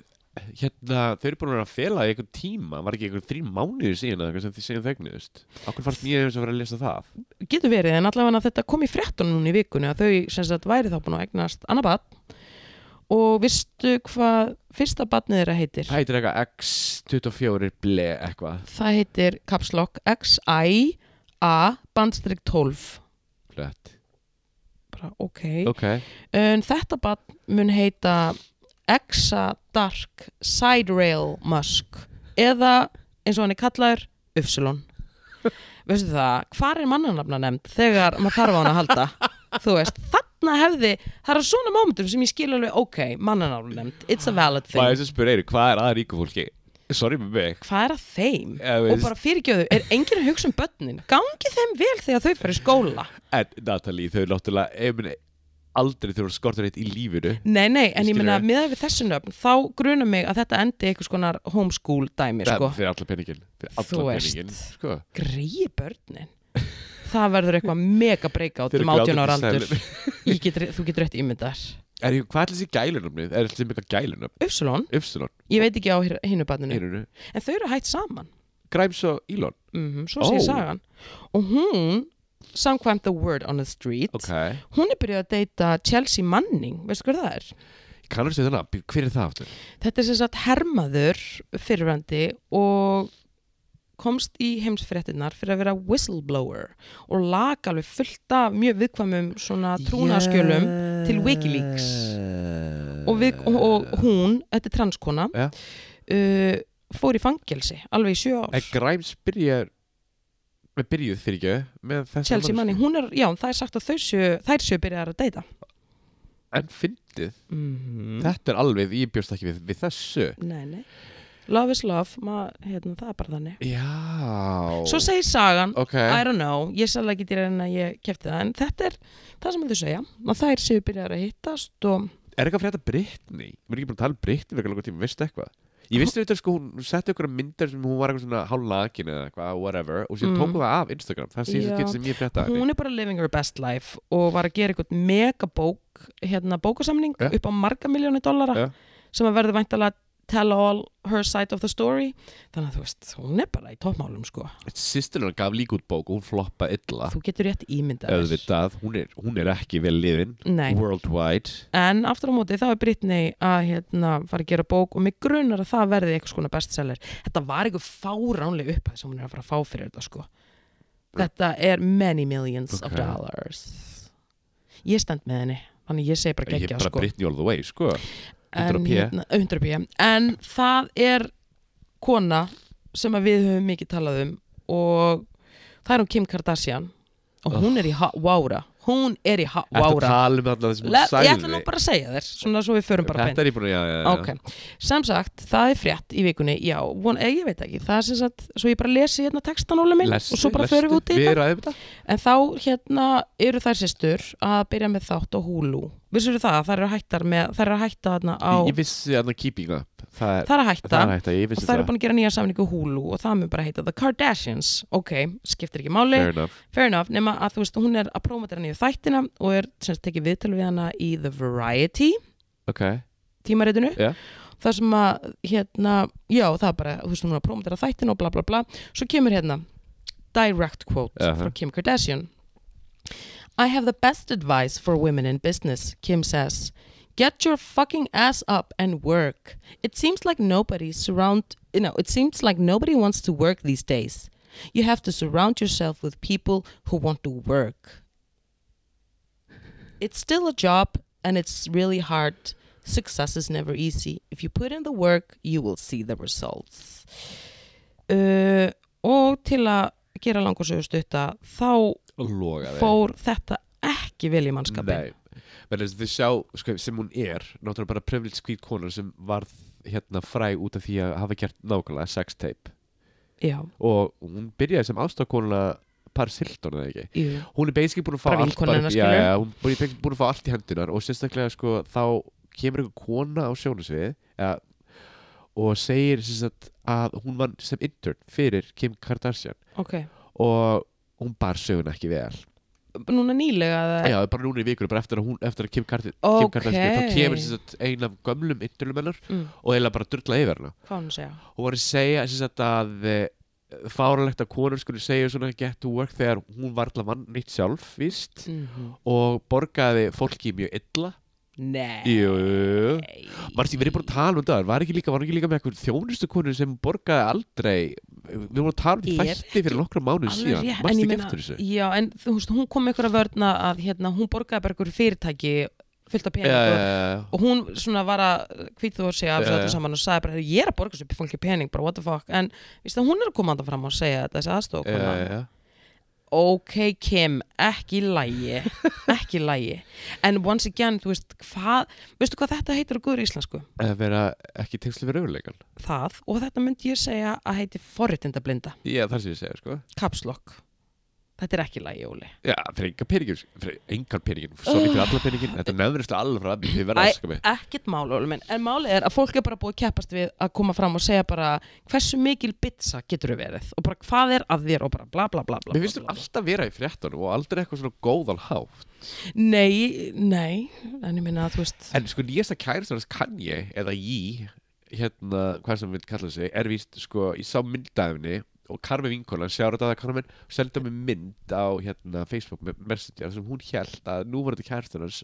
Speaker 1: hérna, þau eru búin að vera að fela í einhvern tíma, var ekki einhvern þrín mánuður síðan eða eitthvað sem þið segjum þegnuðust okkur fannst mér eins og vera að lesa það
Speaker 2: getur verið en allavega þetta kom í fréttunum núna í vikunni að þau sem sagt væri þá búin að eignast annað bann og vistu hvað fyrsta bannið þeirra heitir?
Speaker 1: það heitir eitthvað X24 ble eitthvað
Speaker 2: Það heitir Caps Lock XI A bandstrik 12
Speaker 1: Flett.
Speaker 2: bara ok
Speaker 1: ok,
Speaker 2: En þetta bann mun heita Exa Dark Side Rail Musk eða eins og hann er kallaður Upsilon. Veistu það, hvar er mannanafna nefnd þegar maður þarf á hann að halda? Þú veist, þarna hefði, það er svona momentum sem ég skil alveg, ok, mannanafna nefnd, it's a valid
Speaker 1: hvað er
Speaker 2: thing.
Speaker 1: þess að spyrja Eirík, hvað er að ríku fólki? Sorry með mig
Speaker 2: Hvað er að þeim?
Speaker 1: Ég
Speaker 2: Og
Speaker 1: veist-
Speaker 2: bara fyrirgjöðu, er enginn að hugsa um börnin? Gangi þeim vel þegar þau fyrir skóla?
Speaker 1: En Natalie, þau náttúrulega eh, ég meina, aldrei þau voru skortur eitt í lífinu
Speaker 2: Nei, nei, en ég
Speaker 1: Skilurðu?
Speaker 2: meina, meðan við þessu nöfn, þá gruna mig að þetta endi einhvers konar homeschool dæmi,
Speaker 1: Það
Speaker 2: sko.
Speaker 1: fyrir alla peningin Fyrir
Speaker 2: Þú
Speaker 1: alla
Speaker 2: veist.
Speaker 1: peningin sko.
Speaker 2: greið börnin það verður eitthvað mega breyka át
Speaker 1: Þeir eru
Speaker 2: um 18 ára
Speaker 1: aldrei
Speaker 2: aldur Ég get, ré- þú getur rétt ímyndar
Speaker 1: Er ég, hvað er þessi gælunöfnið? Er þessi mikla gælunöfn?
Speaker 2: Upsilon,
Speaker 1: Upsilon,
Speaker 2: ég veit ekki á hér- hinu barninu
Speaker 1: einunu
Speaker 2: en þau eru hætt saman
Speaker 1: Grimes og Elon
Speaker 2: mm svo segir
Speaker 1: Ó.
Speaker 2: sagan og hún, samkvæmt the word on the street
Speaker 1: Ok
Speaker 2: hún er byrjuð að deyta Chelsea Manning veistu hver það er?
Speaker 1: Kannur þessi þannig, hver er það aftur?
Speaker 2: Þetta er sem sagt hermaður fyrirvændi og komst í heimsfréttinnar fyrir að vera whistleblower og laga alveg fullt af mjög viðkvæmum svona trúnaskjölum til Wikileaks. og, við, og, og hún, þetta er transkona
Speaker 1: Ja.
Speaker 2: uh, fór í fangelsi alveg í sjö ár
Speaker 1: En Grimes byrjar með byrjuð fyrir ekki með þessa
Speaker 2: Chelsea
Speaker 1: manneskju.
Speaker 2: Manning, hún er, já, það er sagt að þau sjö, þær sjö byrjar að deyta
Speaker 1: En fyndið,
Speaker 2: mm.
Speaker 1: þetta er alveg, ég bjóst ekki við, við þessu
Speaker 2: nei, nei. love is love Ma, hérna, það er bara þannig
Speaker 1: Já
Speaker 2: svo segir sagan,
Speaker 1: Ok
Speaker 2: I don't know ég sérlega ekki dýra en að ég kefti það en þetta er það sem þau segja að þær sjö byrjar að hittast og
Speaker 1: er eitthvað frétt að Brittany við erum ekki búin að tala um Brittany verið langar tíma, veistu eitthvað Ég vissi þetta sko, hún setti okkur myndar sem hún var eitthvað svona hálflakin eða eitthvað, whatever og sér
Speaker 2: Mm.
Speaker 1: tóku það af Instagram, það sé
Speaker 2: Já.
Speaker 1: þetta sem ég frétta af henni.
Speaker 2: hún er bara living her best life og var að gera eitthvað megabók hérna bókasamning
Speaker 1: Ja.
Speaker 2: upp á marga miljónu dollara
Speaker 1: Ja.
Speaker 2: sem að verður væntalega tell all her side of the story þannig að þú veist, hún er bara í toppmálum sko
Speaker 1: Sýstirinn hennar gaf líka út bók og hún floppa illa
Speaker 2: þú getur rétt ímyndað þér.
Speaker 1: Ah. auðvitað, hún er, hún er ekki vel lifin
Speaker 2: Nei.
Speaker 1: worldwide
Speaker 2: en aftur á móti þá er Britney að hérna, fara að gera bók og mig grunar að það verði eitthvað svona bestseller þetta var eitthvað fáránleg upphæð sem hún er að fara að fá fyrir þetta sko þetta er many millions
Speaker 1: Ok.
Speaker 2: of dollars ég stend með henni þannig ég segi bara
Speaker 1: ég er
Speaker 2: geggja
Speaker 1: bara
Speaker 2: sko
Speaker 1: Britney all the way, sko 100
Speaker 2: en,
Speaker 1: p.
Speaker 2: hérna, 100 p en það er kona sem að við höfum mikið talað um og það er hún Kim Kardashian og hún er í ha- Vára hún er í ha-
Speaker 1: Ertu að
Speaker 2: Vára
Speaker 1: tala um þarna það sem hún
Speaker 2: Le ég ætla nú
Speaker 1: sagði
Speaker 2: bara að segja þér svona svo við förum bara beint
Speaker 1: Þetta er ég búin að, já, já, já
Speaker 2: ok, sem sagt, það er frétt í vikunni já, von, eh, ég veit ekki, það er sem sagt svo ég bara lesi hérna textan ólega minn
Speaker 1: Lestu,
Speaker 2: og svo bara
Speaker 1: lestu,
Speaker 2: förum við út í
Speaker 1: Við
Speaker 2: þetta
Speaker 1: ræðum þetta
Speaker 2: en þá hérna eru þær sýstur að byrja með þátt á Hulu vissur það, þær eru að hættar með, þær eru að hætta þarna á,
Speaker 1: Ég vissi að það keeping up Það er
Speaker 2: þær eru að hætta
Speaker 1: það er hægt að ég
Speaker 2: og
Speaker 1: vissi
Speaker 2: þær eru
Speaker 1: það
Speaker 2: búin að gera nýja samningu á Hulu og það mun bara heita The Kardashians ok, skiptir ekki máli
Speaker 1: Fair enough
Speaker 2: Fair enough, nema að þú veist, hún er að prófumættir henni í þættina og er sem sagt tekið viðtölu við hana í The Variety
Speaker 1: Ok,
Speaker 2: tímaritinu
Speaker 1: Já.
Speaker 2: þar sem að hérna, já það er bara þú veist hún er að prófumdara þættin og bla bla bla svo kemur hérna direct quote
Speaker 1: Jaha.
Speaker 2: frá Kim Kardashian I have the best advice for women in business Kim says Get your fucking ass up and work. It seems like nobody surround you know, it seems like nobody wants to work these days. You have to surround yourself with people who want to work. It's still a job and it's really hard. Success is never easy. If you put in the work, you will see the results. Uh, og til að gera langur sögur stutta, þá
Speaker 1: logaði
Speaker 2: fór þetta ekki vel í mannskapin.
Speaker 1: Nei, menn þess að þið sjá sko, sem hún er, náttúrulega bara privilege skvít konar sem varð hérna fræ út af því að hafa gert nákvæmlega sex tape
Speaker 2: Já,
Speaker 1: og hún byrjaði sem ástakona Paris Hilton eða ekki
Speaker 2: jú.
Speaker 1: hún er basically búin að fá
Speaker 2: Bara
Speaker 1: allt
Speaker 2: vinkona hennar,
Speaker 1: já,
Speaker 2: skilurðu?
Speaker 1: já, hún er basically búin að fá allt í hendunar og sérstaklega sko þá kemur einhver kona á sjónasvið ja, og segir sem sagt, að hún vann sem intern fyrir Kim Kardashian
Speaker 2: ok.
Speaker 1: og hún bar söguna ekki vel
Speaker 2: Núna nýlega eða-
Speaker 1: Já, bara núna í vikunum, bara eftir að, hún, eftir að Kim, Karti, Kim
Speaker 2: Ókei.
Speaker 1: Kardashian þá kemur sem sagt, ein af gömlum internum hennar
Speaker 2: Mm,
Speaker 1: og eiginlega bara drulla yfir hennar
Speaker 2: hvað á hún að segja?
Speaker 1: Hún var að segja sem sagt, að eh, fáralegt að konur skulle segja svona get to work þegar hún var alltaf mann nýtt sjálf, víst
Speaker 2: Mhm.
Speaker 1: og borgaði fólki mjög illa
Speaker 2: Nei.
Speaker 1: Jú, jú, jú Marst, ég verið búin að tala um það, var ekki líka, var ekki líka með eitthvað þjónustu konur sem borgaði aldrei Við vorum að tala um
Speaker 2: Ég er
Speaker 1: þætti fyrir nokkra mánuð
Speaker 2: Alveg
Speaker 1: síðan,
Speaker 2: rétt, en
Speaker 1: marst
Speaker 2: ég
Speaker 1: ekki
Speaker 2: meina-
Speaker 1: eftir þessu
Speaker 2: Já, en þú veist, hún kom ykkur að vörna að hérna, hún borgaði bara ykkur fyrirtæki fullt af pening
Speaker 1: já,
Speaker 2: og,
Speaker 1: já, já.
Speaker 2: og hún svona var að hvita þú að segja af
Speaker 1: Já,
Speaker 2: þetta
Speaker 1: já.
Speaker 2: saman og sagði bara, "Heyrðu, ég er að borga þessu fólki pening, bara what the fuck en víst að hún er að koma þetta fram og segja þetta þessi aðstofa
Speaker 1: Já, já, já.
Speaker 2: ok Kim, ekki lægi ekki lægi en once again, þú veist, hvað veistu hvað þetta heitir á guður íslensku?
Speaker 1: Að vera ekki tengslu fyrir öfuleikan
Speaker 2: Það, og þetta myndi ég segja að heiti forréttindablinda,
Speaker 1: Já, það sem ég segja, sko
Speaker 2: kapslokk þetta er ekki lægi, Óli
Speaker 1: Já, fyrir enga peningin, fyrir engan peningin Sorry fyrir alla peningin, þetta er nöðurist alveg frá mér Þið verða
Speaker 2: Æ,
Speaker 1: að sko mig
Speaker 2: ekkert mál, Óli minn, en málið er að fólk er bara búið að keppast við að koma fram og segja bara hversu mikil bitsa getur við verið og bara hvað er að þér og bara bla bla bla
Speaker 1: Mér
Speaker 2: bla bla,
Speaker 1: finnst þú
Speaker 2: bla.
Speaker 1: alltaf vera í fréttanum og aldrei eitthvað svona góðan hátt
Speaker 2: Nei, nei, en ég minna að þú veist
Speaker 1: En sko nýjasta kæristjóðans kann ég eða ég, hérna, hvað sem við kalla sig er víst, sko, ég sá myndæfni og Karmi vinkona, sjáur þetta að Karmin selda mig mynd á hérna, Facebook með Messenger sem hún held að núverandi kæristjóðans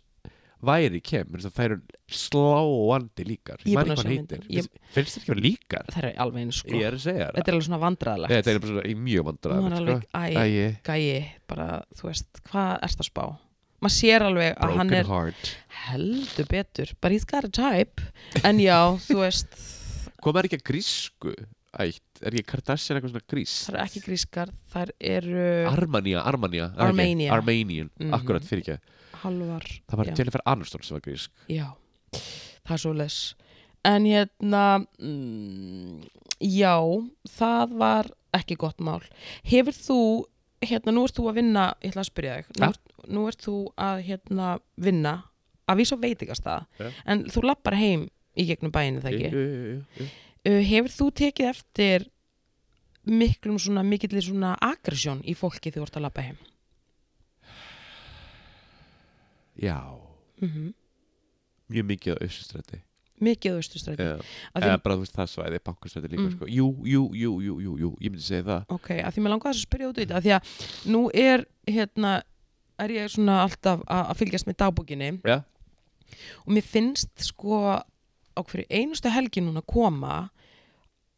Speaker 1: væri kem en það eru sláandi líkar
Speaker 2: Ég er
Speaker 1: man
Speaker 2: búin
Speaker 1: ekki hvað
Speaker 2: að sjá
Speaker 1: hann heitir.
Speaker 2: myndina. Ég-
Speaker 1: Finnst- finnst þér ekki að vera líkar?
Speaker 2: það er alveg eins sko
Speaker 1: Ég er að segja þér
Speaker 2: þetta er alveg svona
Speaker 1: Nei,
Speaker 2: vandræðalegt
Speaker 1: Þetta er bara svona í mjög vandræðar
Speaker 2: Maður er alveg, æ,
Speaker 1: Æ,
Speaker 2: gæi, bara, þú veist, hvað ert að spá? Maður sér alveg að hann
Speaker 1: broken
Speaker 2: er
Speaker 1: heart
Speaker 2: heldur betur, but he's got a type. En já, þú veist,
Speaker 1: Hvað maður ekki að grísku? Ætt, er ekki Kardashian eitthvað svona grís?
Speaker 2: það eru ekki grískar, þær eru
Speaker 1: Armania, Armania er það ekki?
Speaker 2: Armenia.
Speaker 1: Armenian,
Speaker 2: Mhm.
Speaker 1: akkurat fyrir ekki
Speaker 2: halvar,
Speaker 1: Það var
Speaker 2: Já.
Speaker 1: Jennifer Aniston sem var grísk
Speaker 2: já, það er svo les. En hérna, mm, já, það var ekki gott mál. Hefur þú, hérna, nú ert þú að vinna, ég ætla að spyrja þig,
Speaker 1: Ja.
Speaker 2: nú, ert- nú ert þú að, hérna, vinna, að vísa á veitingastað,
Speaker 1: Ja.
Speaker 2: en þú lappar heim í gegnum bæinu, það ekki?
Speaker 1: Jú, jú, jú, jú.
Speaker 2: uh, hefur þú tekið eftir miklum svona mikillir svona aggresjón í fólki þegar þú ert að labba heim
Speaker 1: já,
Speaker 2: mm
Speaker 1: mjög mikið á austustræti
Speaker 2: mikið á austustræti
Speaker 1: eða
Speaker 2: Af því-
Speaker 1: eða bara þú veist það svæði, bankustræti líka
Speaker 2: Mm.
Speaker 1: sko. jú, jú, jú, jú, jú, jú, ég myndi segja það
Speaker 2: Ok, að því mér langaði þess að spyrja út í þetta af því að nú er hérna er ég svona alltaf að, að fylgjast með dagbókinni
Speaker 1: Já.
Speaker 2: og mér finnst sko á hverju einustu helgi núna koma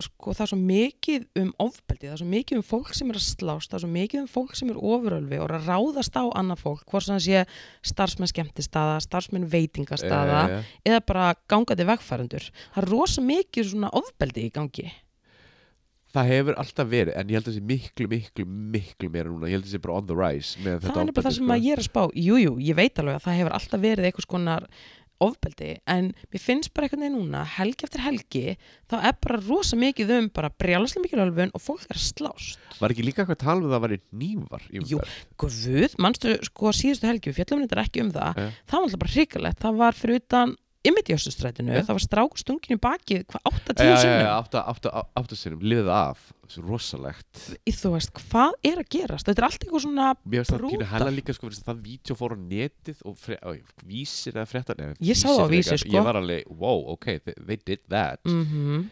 Speaker 2: sko það er svo mikið um ofbeldi, það er svo mikið um fólk sem er að slást, það er svo mikið um fólk sem er ofurölfi og er að ráðast á annað fólk hvort sem það sé starfsmenn skemmtistaða starfsmenn veitingastaða
Speaker 1: Eh,
Speaker 2: eða bara gangandi vegfærendur það er rosa mikið svona ofbeldi í gangi
Speaker 1: það hefur alltaf verið, en ég held að það sé miklu, miklu, miklu meira núna, ég held að það sé bara on the rise með
Speaker 2: það
Speaker 1: þetta
Speaker 2: er bara það
Speaker 1: ofbeldi, sko.
Speaker 2: sem að ég er að spá jújú, jú, ég veit alveg að það hefur alltaf verið einhvers konar ofbeldi en mér finnst bara eitthvað núna, helgi eftir helgi þá er bara rosa mikið um bara brjálaslega mikið alveg og fólk er að slást
Speaker 1: var ekki líka eitthvað að tala um að það var nývar í
Speaker 2: Jú, guð, manstu sko síðustu helgi við fjallum þetta ekki um það,
Speaker 1: Já.
Speaker 2: það var alltaf bara hrikalegt, það var fyrir utan ymmidjásustrætinu,
Speaker 1: Já.
Speaker 2: það var strákur stungin í bakið hvað átta
Speaker 1: Já,
Speaker 2: tíu
Speaker 1: já, já,
Speaker 2: sinnum
Speaker 1: átta, átta, átta sinnum, lifið af Svo rosalegt
Speaker 2: Í- þú veist, hvað er að gerast þetta er allt eitthvað svona,
Speaker 1: Mér finnst það pínu
Speaker 2: Brútal.
Speaker 1: hella líka sko, vegna þess að það vídeo fór á netið og fre, á, vísir eða frétta nei,
Speaker 2: Ég sá það
Speaker 1: frekar.
Speaker 2: á Vísi, sko.
Speaker 1: Ég var alveg, wow, ok, they, they did that
Speaker 2: mm
Speaker 1: Mm-hmm.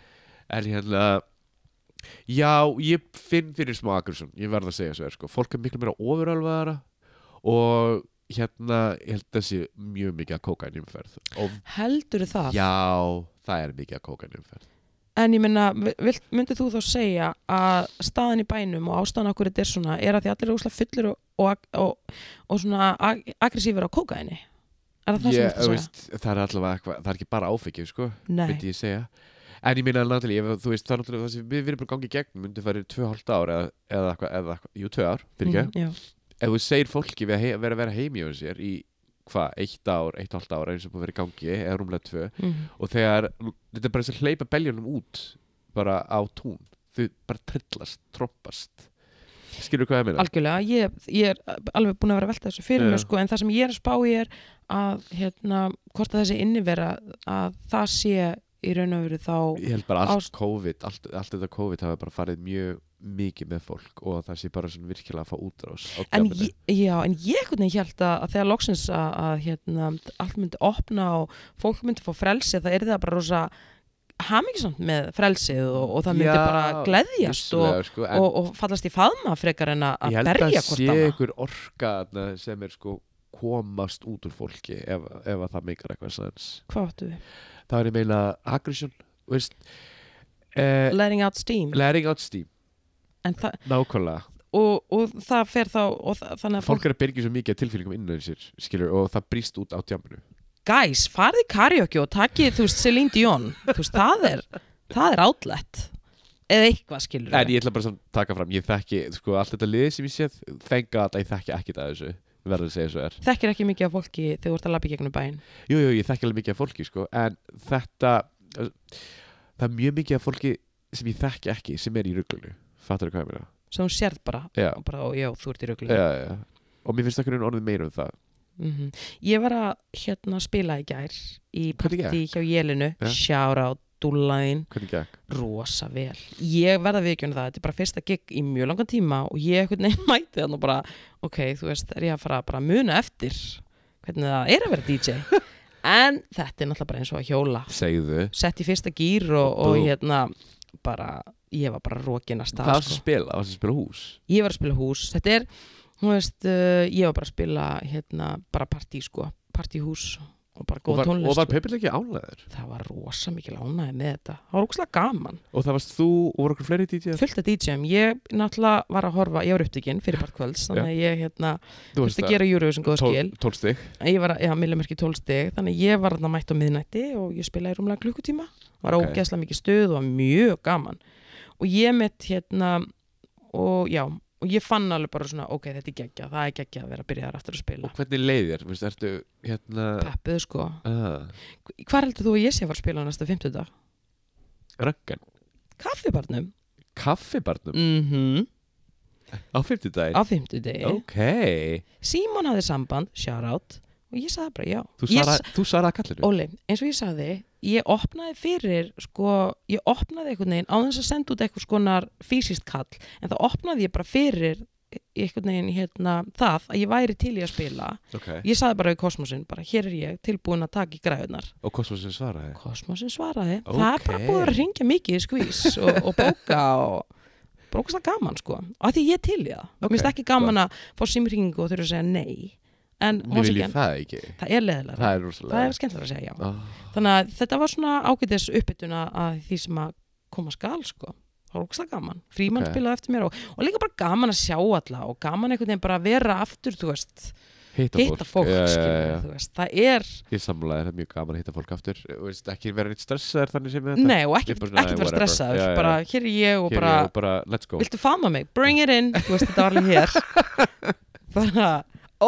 Speaker 1: En hérna Já, ég finn fyrir smá akkursum Ég verð að segja svo er sko Fólk er miklu meira ofuralvaðara Og hérna, ég held að sé mjög mikið að kóka en umferð Og
Speaker 2: heldur það
Speaker 1: já, það er mikið að kóka en umferð
Speaker 2: En ég meina, myndið þú þá segja að staðan í bænum og ástæðan okkur þetta er svona, er að því allir eru úslega fullir og, og, og, og svona ag aggressífur á kókaini? Er það það sem
Speaker 1: ég,
Speaker 2: þú ert að segja?
Speaker 1: veist, það er allavega eitthvað, það er ekki bara áfengið sko
Speaker 2: Nei,
Speaker 1: myndi ég segja en ég meina náttúrulega, ef, þú veist, það er náttúrulega það sem við við erum bara gangið gegn, myndi farið tvö hálft ár eða, eða eitthvað, eða eitthvað, jú, tvö ár fyrir ekki,
Speaker 2: Mm, já.
Speaker 1: ef þú segir fólki við að hei, vera að vera heimi á sér í hvað, eitt ár, eitt hálft ár eins og búið að vera í gangi, eða rúmlega tvö
Speaker 2: Mm.
Speaker 1: og þegar, þetta er bara þess að hleypa beljónum út bara á tún þau bara trillast, trompast skilur hvað ég meina?
Speaker 2: Algjörlega, ég, ég er alveg búin að vera að velta þessu fyrir
Speaker 1: Já.
Speaker 2: mér sko, en það sem ég er að spá í er að hérna, hvort að þessi innivera að það sé í raun og veru þá
Speaker 1: ég held bara allt
Speaker 2: Ást-
Speaker 1: COVID, allt, allt þetta COVID hafa bara farið mjög mikið með fólk og það sé bara svona virkilega að fá útrás á
Speaker 2: En
Speaker 1: djamminu.
Speaker 2: ég, já, en ég hvernig held að, að þegar loksins að, að hérna, allt myndi opna og fólk myndi fá frelsi það er það bara rosa hamingisamt með frelsið og, og það myndi
Speaker 1: Já,
Speaker 2: bara gleðjast og,
Speaker 1: vissulega, sko, en-
Speaker 2: og, og fallast í faðma frekar en að-
Speaker 1: Ég
Speaker 2: að
Speaker 1: held
Speaker 2: berja
Speaker 1: að
Speaker 2: hvort
Speaker 1: sé
Speaker 2: annað.
Speaker 1: ykkur orka þarna sem er sko komast út úr fólki ef, ef að það meikar eitthvað sens
Speaker 2: Hvað áttu við?
Speaker 1: það er ég meina aggression veist, eh,
Speaker 2: Letting out steam
Speaker 1: læring out steam,
Speaker 2: En það,
Speaker 1: nákvæmlega
Speaker 2: og, og það fer þá og það, þannig að fólk,
Speaker 1: fólk er að byrgja svo mikið af tilfinningum innan í sér skilur, og það brýst út á djáminu
Speaker 2: guys, farði kariokju og takið, þú veist, Celine Dion þú veist, það er, það er outlet eða eitthvað skilur
Speaker 1: en ég ætla bara samt að taka fram, ég þekki sko, allt þetta lið sem ég séð, þenga að ég þekki ekkit af þessu, verður að segja svo er
Speaker 2: þekkir ekki mikið af fólki þegar þú ert að labba í gegnum bæinn
Speaker 1: Jú, jú, ég þekki alveg mikið af fólki sko, en þetta það er mjög mikið af fólki sem ég þekki ekki, sem er í ruglunu fattar hvað ég meina?
Speaker 2: sem hún sérð bara
Speaker 1: Já,
Speaker 2: og bara, ó, já, þú ert í röglu
Speaker 1: já, já, já. og mér finnst okkur einn orðið meira um það
Speaker 2: Mhm. ég var að hérna spila í gær í
Speaker 1: Hvernig
Speaker 2: partí hjá Jelinu
Speaker 1: Já.
Speaker 2: sjára á dúllaðin
Speaker 1: hvernig gekk?
Speaker 2: rosa vel ég verða viðkjörn það, þetta er bara fyrsta gig í mjög langan tíma og ég einhvern veginn mæti þannig bara, ok, þú veist, er ég að fara bara að muna eftir hvernig það er að vera DJ en þetta er náttúrulega bara eins og að hjóla
Speaker 1: Segðu
Speaker 2: sett í fyrsta gýr og, og
Speaker 1: Bú.
Speaker 2: hérna bara, ég var bara rókin að
Speaker 1: Hvað
Speaker 2: stað sko.
Speaker 1: var það að spila? Hvað var það að spila hús?
Speaker 2: ég var að spila hús þetta er, þú veist, uh, ég var bara að spila hérna, bara partí sko partíhús og bara
Speaker 1: Og
Speaker 2: góð
Speaker 1: var,
Speaker 2: tónlist sko.
Speaker 1: og var Pepil ekki ánlegaður?
Speaker 2: það var rosa mikil ánæði með þetta það var ógustlega gaman,
Speaker 1: Og það varst þú og voru okkur fleiri DJ-ar?
Speaker 2: fullt af DJ-um ég náttúrulega var að horfa, ég var upptökin fyrir part kvölds, þannig að ég hérna
Speaker 1: Þú
Speaker 2: þurfti að gera Eurovision góð skil
Speaker 1: Tólstig
Speaker 2: ég var, að- já, millimerki tólstig, þannig að ég var þarna mætt á miðnætti og ég spilaði rúmlega klukkutíma var
Speaker 1: Ok.
Speaker 2: ógeðslega mikið stuð og var mjög gaman og ég mitt hérna og já, og ég fann alveg bara svona ok, þetta er geggja, það er geggja að vera að byrja þar aftur að spila
Speaker 1: Og hvernig leið þér? Vist, ertu hérna
Speaker 2: peppuð sko,
Speaker 1: uh,
Speaker 2: hvað heldur þú að ég sé að fara að spila á næsta 50 dag?
Speaker 1: Röggan
Speaker 2: Kaffibarnum?
Speaker 1: Kaffibarnum
Speaker 2: Mhm,
Speaker 1: á 50 daginn
Speaker 2: á 50 degi
Speaker 1: Ok
Speaker 2: Símon hafði samband, shout out og ég sagði bara já
Speaker 1: Þú
Speaker 2: Ég
Speaker 1: svaraði yes. svara kallinu
Speaker 2: Óli, eins og ég sagði, ég opnaði fyrir, sko, ég opnaði einhvern veginn á þess að senda út eitthvað skonar fysiskt kall, en þá opnaði ég bara fyrir einhvern veginn hérna það að ég væri til í að spila
Speaker 1: okay.
Speaker 2: ég sagði bara við kosmosin, bara hér er ég tilbúin að taka í græðunar,
Speaker 1: Og kosmosin svaraði
Speaker 2: kosmosin svaraði það er bara
Speaker 1: Ókei.
Speaker 2: búið að ringja mikið í skvís og, og bóka og brókast það gaman sko, af því ég er til í það okay,
Speaker 1: Ókei,
Speaker 2: mér finnst ekki gaman að fá símringu og þurfa að segja nei en
Speaker 1: Mér
Speaker 2: once
Speaker 1: vil ég
Speaker 2: again,
Speaker 1: það ekki
Speaker 2: það er leðilega
Speaker 1: Það er
Speaker 2: það
Speaker 1: rosalega
Speaker 2: er skemmtilega að segja já
Speaker 1: oh.
Speaker 2: þannig að þetta var svona ágætis uppbytuna að því sem að koma skal sko það var ógsta gaman, frímann
Speaker 1: Ok.
Speaker 2: spilaði eftir mér og, og líka bara gaman að sjá alla og gaman einhvern veginn bara að vera aftur þú veist,
Speaker 1: Hitta
Speaker 2: hitta fólk
Speaker 1: Já, já,
Speaker 2: skilur,
Speaker 1: já, já.
Speaker 2: þú veist, það er
Speaker 1: Ég samlaði það er mjög gaman að hitta fólk aftur Þú veist, Ekki vera neitt stressaður þannig sem við þetta
Speaker 2: nei og ekkert,
Speaker 1: Ég bara svona,
Speaker 2: ekkert vera
Speaker 1: whatever.
Speaker 2: stressaður
Speaker 1: Já, já.
Speaker 2: bara hér er ég og
Speaker 1: Hér
Speaker 2: bara,
Speaker 1: er ég bara Let's go
Speaker 2: viltu faðma mig, bring it in þú veist, þetta var alveg hér bara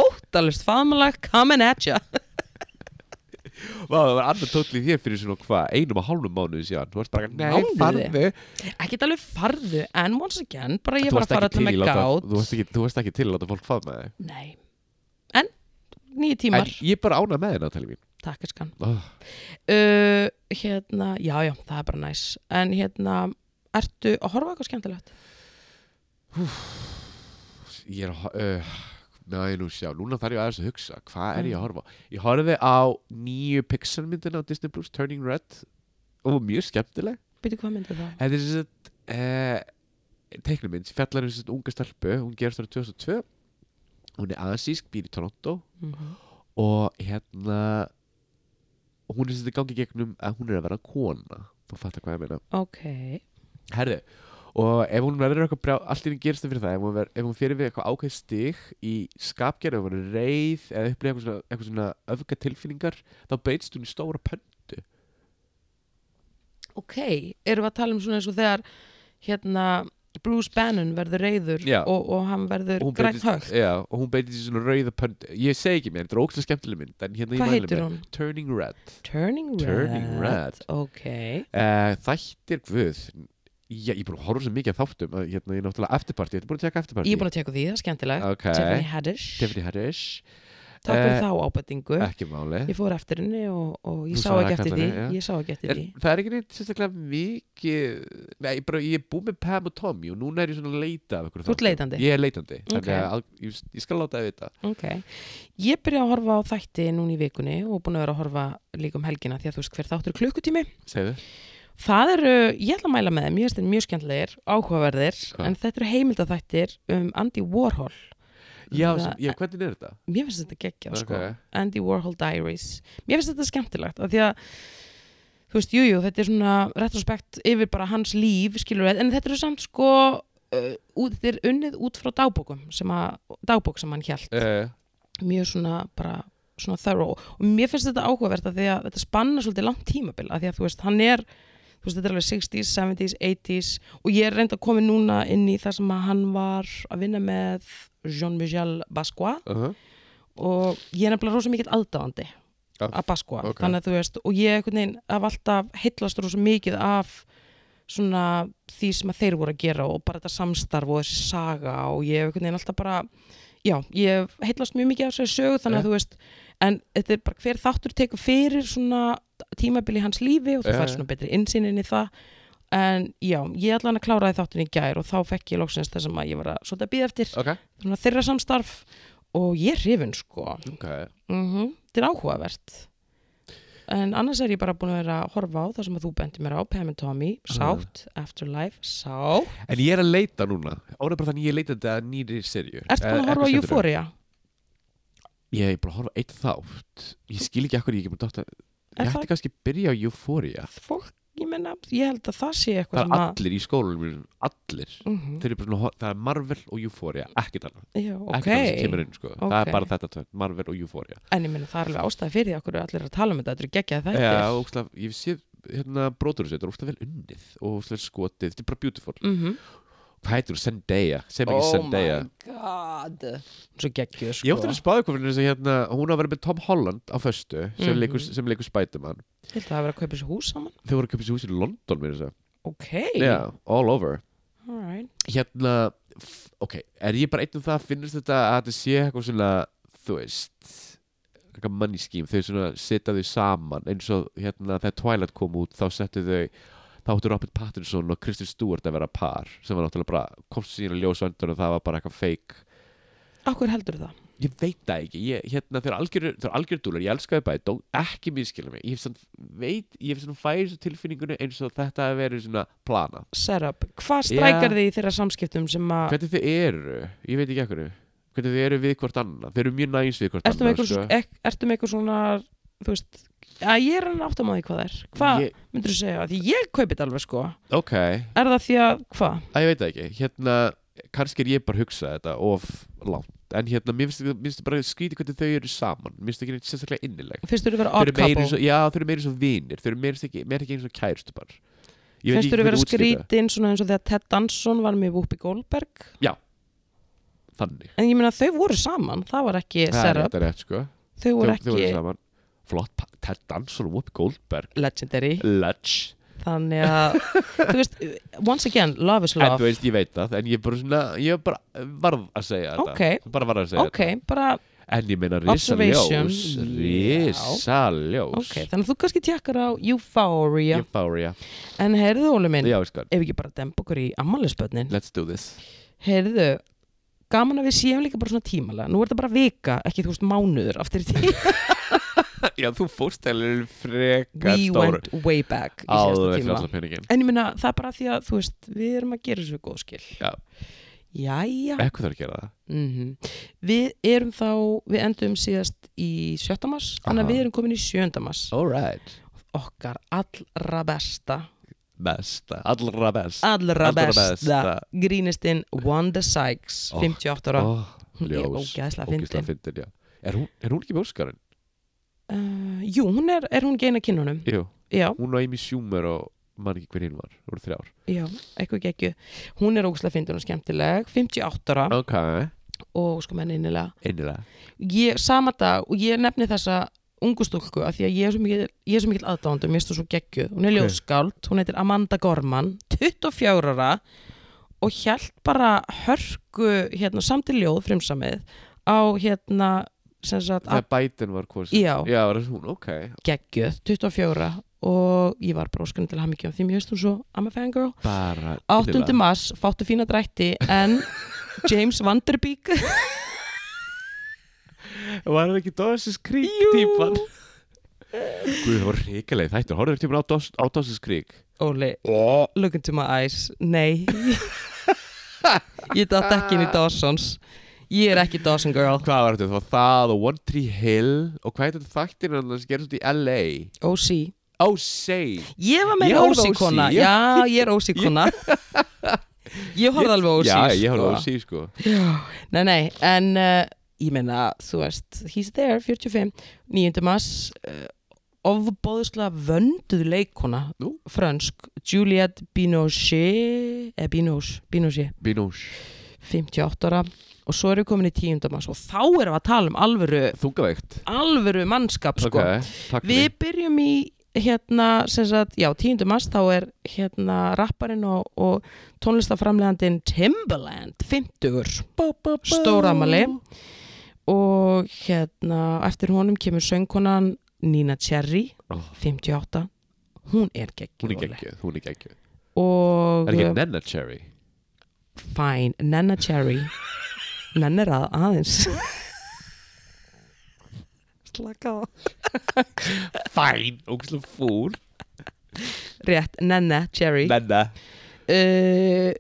Speaker 2: óttalust faðmalag coming at ya
Speaker 1: Vá, það var annar tóll í þér fyrir svona hvað Einum og hálfum mánuði síðan Þú varst bara Nei,
Speaker 2: Mánuði?
Speaker 1: farði
Speaker 2: ekkert alveg farðu, en once again bara ég
Speaker 1: Þú
Speaker 2: var
Speaker 1: varst
Speaker 2: að fara
Speaker 1: ekki
Speaker 2: alltaf
Speaker 1: til í
Speaker 2: með
Speaker 1: láta
Speaker 2: gát
Speaker 1: Þú varst ekki- þú varst ekki til að láta fólk faðma þig
Speaker 2: nei, en nýju
Speaker 1: En
Speaker 2: tímar,
Speaker 1: ég er bara ána með þeirna til mín
Speaker 2: takk er skan
Speaker 1: oh,
Speaker 2: uh, hérna, já, já, það er bara næs en hérna, ertu að horfa á eitthvað skemmtilegt?
Speaker 1: Ég er að ho- uh, Nei, nú sjá, núna þarf ég aðeins að hugsa Hvað er ég að horfa á? Ég horfði á nýju Pixar myndina á Disney Plus, Turning Red og var mjög skemmtileg
Speaker 2: Býtu hvað myndir það?
Speaker 1: Þetta er sem sagt uh, teiknumynd, sem fjallar um sem sagt unga stelpu hún gerst ára 2002 hún er asísk, býr í Toronto
Speaker 2: Mm -hmm.
Speaker 1: og hérna hún er sem sagt í gangi gegnum að hún er að vera kona þú fattar hvað ég meina
Speaker 2: Ok,
Speaker 1: Herði, og ef hún verður eitthvað brjá, allt í henni gerist það fyrir það, ef hún, ver, ef hún fyrir við eitthvað ákveð stig í skapgerð, ef hún er reið eða upplýð eitthvað svona, eitthvað svona öfga tilfinningar, þá beitst hún í stóra pönn.
Speaker 2: ok, erum við að tala um svona eins og þegar hérna Bruce Bannon verður reyður
Speaker 1: Já.
Speaker 2: og, og hann verður
Speaker 1: Og hún
Speaker 2: grænt högt
Speaker 1: beitist- Já, og hún beitist í svona rauða pönn. Ég segi ekki mér, þetta er ókslega skemmtileg mynd, en hérna ég
Speaker 2: Hvað
Speaker 1: mæli
Speaker 2: heitir
Speaker 1: mér.
Speaker 2: hún?
Speaker 1: Turning Red.
Speaker 2: Turning Red,
Speaker 1: Turning Red.
Speaker 2: Ok,
Speaker 1: Uh, þættir Guð. Já, ég er búin að horfa svo mikið að þáttum, að, hérna, ég er náttúrulega eftirparti, ég er búin að tjekka eftirparti.
Speaker 2: ég er búin að teka því, það er skemmtilegt
Speaker 1: Ok.
Speaker 2: Tiffany Haddish,
Speaker 1: Tiffany Haddish,
Speaker 2: takk fyrir
Speaker 1: eh,
Speaker 2: þá ábætingu
Speaker 1: ekki máli.
Speaker 2: Ég fór eftir henni og, og ég
Speaker 1: Þú
Speaker 2: sá
Speaker 1: svaraði
Speaker 2: ekki eftir því
Speaker 1: kallinu, já.
Speaker 2: Ég sá ekki eftir
Speaker 1: En
Speaker 2: því
Speaker 1: það er ekki neitt sérstaklega mikið Nei, bara, ég er búið með Pam og Tommy og núna er ég svona að leita af einhverju
Speaker 2: Þú ert
Speaker 1: þáttum.
Speaker 2: leitandi?
Speaker 1: Ég er leitandi
Speaker 2: Ok.
Speaker 1: Þannig að al- ég, ég skal láta það vita
Speaker 2: Ok, ég byrja að horfa á þætti núna í vikunni og búin að vera að horfa líka um helgina því að þú veist hver þáttur er klukkutími.
Speaker 1: Segðu
Speaker 2: Það eru, ég ætla að mæla með þeim, ég finnst þeim mjög skemmtilegir, áhugaverðir,
Speaker 1: Hvað?
Speaker 2: en þetta eru heimildaþættir um Andy Warhol.
Speaker 1: Já,
Speaker 2: Það-
Speaker 1: sem, já hvernig er þetta?
Speaker 2: Mér finnst þetta geggjað, sko.
Speaker 1: Ok.
Speaker 2: Andy Warhol Diaries. Mér finnst þetta skemmtilegt, af því að, þú veist, jújú, jú, þetta er svona retrospekt yfir bara hans líf, skilur við, en þetta eru samt, sko, uh, út, þetta er unnið út frá dagbókum, sem að, dagbók sem hann hjælt.
Speaker 1: Uh,
Speaker 2: mjög svona bara svona thorough og mér finnst þetta áhugavert að því að þetta spanna svolítið langt tímabil að því að þú veist hann er þú veist þetta er alveg 60s, 70s, 80s og ég er reynd að komi núna inn í það sem að hann var að vinna með Jean-Michel Basquiat
Speaker 1: uh -huh.
Speaker 2: og ég er nefnilega rosa mikill aðdáðandi
Speaker 1: Já,
Speaker 2: að Basquiat,
Speaker 1: ok.
Speaker 2: þannig að þú veist og ég einhvern veginn af alltaf heitlast rosa mikið af svona því sem að þeir voru að gera og bara þetta samstarf og þessi saga og ég hef einhvern veginn alltaf bara já, ég hef heitlast mjög mikið af þessi sögu þannig að
Speaker 1: Já.
Speaker 2: þú veist en þetta er bara hver þáttur tekur fyrir svona tímabili í hans lífi og þú
Speaker 1: Já,
Speaker 2: fær
Speaker 1: já.
Speaker 2: svona betri innsýn inn í það en já, ég allan að kláraði þátturinn í gær og þá fekk ég loksins það sem að ég var að svolítið að býða eftir
Speaker 1: Ok,
Speaker 2: svona þeirra samstarf og ég er hrifin sko
Speaker 1: ok
Speaker 2: mm
Speaker 1: Mhm.
Speaker 2: þetta er áhugavert en annars er ég bara búin að vera að horfa á það sem að þú bendir mér á, Pam and Tommy Sátt, Afterlife, Sátt
Speaker 1: En ég er að leita núna Óra bara þannig ég er leitandi að nýri serju
Speaker 2: Ertu búin að horfa á Euphoria?
Speaker 1: Ég er bara að horfa á eitt þátt Ég skil ekki akkur ég ekki búin að dátta
Speaker 2: Er
Speaker 1: Ég
Speaker 2: það-
Speaker 1: ætti kannski að byrja á Euphoria
Speaker 2: Fólk, ég menna, ég held að það sé
Speaker 1: Það
Speaker 2: eitthvað
Speaker 1: er
Speaker 2: sem að
Speaker 1: allir í skólanum mínum, Allir
Speaker 2: Mhm,
Speaker 1: Þeir eru bara svona að hor- Það er Marvel og Euphoria Ekkert annað
Speaker 2: Já, ok,
Speaker 1: Ekkert annað sem kemur inn sko Það
Speaker 2: Ok.
Speaker 1: er bara þetta tvö Marvel og Euphoria
Speaker 2: en ég menna það er alveg ástæði fyrir því okkur allir eru að tala um þetta, þetta eru geggjað þetta
Speaker 1: Já, ókslega, ég sé hérna brotur þessu, þetta er ókslega vel unnið og ókslega vel skotið, þetta er bara beautiful
Speaker 2: Mhm.
Speaker 1: Hvað heitir hún? Zendaya? Sem ekki
Speaker 2: Oh
Speaker 1: Zendaya
Speaker 2: my god Svo geggjuð sko
Speaker 1: Ég átti að spáði eitthvað fyrir þess að hérna, hún á að vera með Tom Holland á föstu sem,
Speaker 2: Mhm.
Speaker 1: leikur, sem leikur Spiderman
Speaker 2: Ég held að það hafi verið að kaupa þessu hús saman
Speaker 1: Þau voru að köpa sér hús í London mér þess að
Speaker 2: Ok,
Speaker 1: Já, all over
Speaker 2: alright
Speaker 1: Hérna, f- ok, er ég bara einn um það að finnast þetta að þetta sé eitthvað svona, þú veist eitthvað money scheme, þau svona setja þau saman eins og hérna þegar Twilight kom út þá settu þau þá áttu Robert Pattinson og Kristen Stewart að vera par sem var náttúrulega bara, komst síðan að ljós á endur og það var bara eitthvað fake
Speaker 2: Akkur heldur það?
Speaker 1: ég veit það ekki, ég, hérna þeir eru algjörur þeir eru algjörur dúlar, ég elska þau bæði, dó, ekki miskilja mig, ég hef svona, veit ég hef svona færi svo tilfinningunni eins og þetta að vera svona plana,
Speaker 2: Setup. Hvað
Speaker 1: Já.
Speaker 2: strækar þið í þeirra samskiptum sem að
Speaker 1: hvernig þau eru ég veit ekki ekkur, hvernig þau eru við hvort annað þau eru mjög næs við hvort
Speaker 2: Ertu
Speaker 1: annað sko.
Speaker 2: með eitthvað svona, ek, ertu með eitthvað svona þú veist, að ég er hann áttum að því hvað það er hvað
Speaker 1: Ég-
Speaker 2: myndirðu segja, því ég kaupi þetta alveg sko
Speaker 1: ok,
Speaker 2: er það því að, hvað,
Speaker 1: að ég veit það ekki, hérna kannski er ég bara að hugsa þetta of langt en hérna, mér finnst- mér finnst bara skríti hvernig þau eru saman, mér finnst ekki neitt sérstaklega innilegt
Speaker 2: finnst þú vera
Speaker 1: Þau
Speaker 2: odd
Speaker 1: eru meiri
Speaker 2: couple
Speaker 1: svo, já, þau eru meiri svo vinir þau eru meiri ekki, meiri ekki eins og kærustu bara Ég veit
Speaker 2: finnst
Speaker 1: ekki
Speaker 2: þú vera
Speaker 1: hvernig útskýra
Speaker 2: skrítin svona eins og þegar Ted Danson var með Whoopi Goldberg
Speaker 1: það. þannig
Speaker 2: en ég meina þau voru saman, það var ekki
Speaker 1: Það er
Speaker 2: setup,
Speaker 1: rétt, það er rétt, sko.
Speaker 2: þau voru
Speaker 1: þau, þau voru
Speaker 2: ekki
Speaker 1: saman flott, pa- Ted Danson og Whoopi Goldberg
Speaker 2: legendary,
Speaker 1: Lutch,
Speaker 2: þannig að þú veist, once again, love is
Speaker 1: en þú
Speaker 2: love
Speaker 1: veist, ég veit það en ég bara svona, ég bara varð að segja þetta
Speaker 2: Ok.
Speaker 1: bara varð að segja
Speaker 2: ok, bara,
Speaker 1: þetta en ég meina
Speaker 2: Observation.
Speaker 1: risaljós risaljós
Speaker 2: ok, þannig að þú kannski tjekkar á Euphoria,
Speaker 1: Euphoria
Speaker 2: en heyrðu Óli minn
Speaker 1: já, veist hvað,
Speaker 2: ef við ekki bara dempa okkur í ammælisbönnin
Speaker 1: let's do this
Speaker 2: heyrðu, gaman að við séum líka bara svona tímalega, nú er þetta bara vika ekki þú veist mánuður aftur í tíma
Speaker 1: já, þú fórst eða frekar
Speaker 2: we
Speaker 1: stór
Speaker 2: went way back í síðasta
Speaker 1: áður
Speaker 2: tíma
Speaker 1: frjálsa peningin
Speaker 2: en ég minna, það er bara því að þú veist, við erum að gera þessu góð skil
Speaker 1: Já. Eh.
Speaker 2: jæja
Speaker 1: eitthvað þarf að gera það
Speaker 2: Mhm. við erum þá, við endum síðast í sjöttamars, þannig
Speaker 1: Aha.
Speaker 2: að við erum komin í sjöndamars
Speaker 1: alright
Speaker 2: okkar allra besta
Speaker 1: besta, allra best Allra
Speaker 2: allra, besta,
Speaker 1: besta.
Speaker 2: grínistinn Wanda Sykes,
Speaker 1: Ó,
Speaker 2: 58 ára
Speaker 1: oh,
Speaker 2: Hún er
Speaker 1: ljós,
Speaker 2: ógeðslega
Speaker 1: ógeðslega fyndin já. er, hún, er hún ekki með Óskarinn?
Speaker 2: Uh, jú, hún er, er hún geina kinnunum
Speaker 1: Jú,
Speaker 2: Já,
Speaker 1: hún og Amy Schumer og man ekki hver hinn var, hún er þrjár
Speaker 2: já, eitthvað gekkju Hún er ógustlega fyndun og skemmtileg 58 ára
Speaker 1: ok,
Speaker 2: og sko menn innilega
Speaker 1: einnilega
Speaker 2: ég, Sama dag og ég nefni þessa ungu stúlku af því að ég er svo mikil, ég er svo mikil aðdándum, ég er svo geggju Hún er
Speaker 1: Hver?
Speaker 2: ljóskáld, hún heitir Amanda Gorman 24 ára og hjælt bara hörku hérna, samt í ljóð frimsamið á hérna sem sagt
Speaker 1: þegar Biden var kosin
Speaker 2: Já.
Speaker 1: já var það hún, ok
Speaker 2: geggjuð 24 og ég var bara óskan til að hafa mikið því mér veist hún svo, I'm a fangirl
Speaker 1: bara
Speaker 2: 8. mars, fáttu fína drætti en James Van Der Beek
Speaker 1: var það ekki Dawson's Creek
Speaker 2: Jú.
Speaker 1: típan guð það var reykjalegi þættur horfður típan á, Daws- á Dawson's Creek
Speaker 2: Óli,
Speaker 1: oh.
Speaker 2: look into my eyes Nei Ég datt ekki inn í Dawson's Ég er ekki Dawson girl
Speaker 1: hvað var þetta, það var það og One Tree Hill og hvað er þetta þættir hann að gera svolítið í LA
Speaker 2: OC
Speaker 1: oh say
Speaker 2: Ég var
Speaker 1: Ég
Speaker 2: meira
Speaker 1: horfði á
Speaker 2: OC kona
Speaker 1: OC, já.
Speaker 2: Já, ég er OC kona Ég horfði alveg á OC
Speaker 1: já ég
Speaker 2: sko.
Speaker 1: horfði á sí sko
Speaker 2: Nei, nei, en uh, ég meina, þú veist, he's there, 45, 9. mars, uh, ofbóðslega vönduð leikona,
Speaker 1: Nú?
Speaker 2: frönsk, Juliette Binoche, eða Binoche, Binoche,
Speaker 1: Binús
Speaker 2: 58 ára, og svo erum við komin í 10. mars og þá erum við að tala um alvöru,
Speaker 1: þungaveikt
Speaker 2: alvöru mannskap, sko.
Speaker 1: ok, takk
Speaker 2: Við byrjum í hérna, sem sagt, já, 10. mars þá er hérna rapparinn og, og tónlistaframlegandinn Timbaland, 50
Speaker 1: fyrir
Speaker 2: stóramali. og hérna eftir honum kemur söngkonan Nina Cherry,
Speaker 1: Oh.
Speaker 2: 58 hún er geggjuð
Speaker 1: hún er
Speaker 2: Óli.
Speaker 1: geggjöð, hún er geggjöð
Speaker 2: og
Speaker 1: er ekki Nenna Cherry
Speaker 2: fine, Nana Cherry Nana er að aðeins slaka á
Speaker 1: fæn, ógslum fúr
Speaker 2: rétt, Nana Cherry
Speaker 1: Nenna
Speaker 2: uh,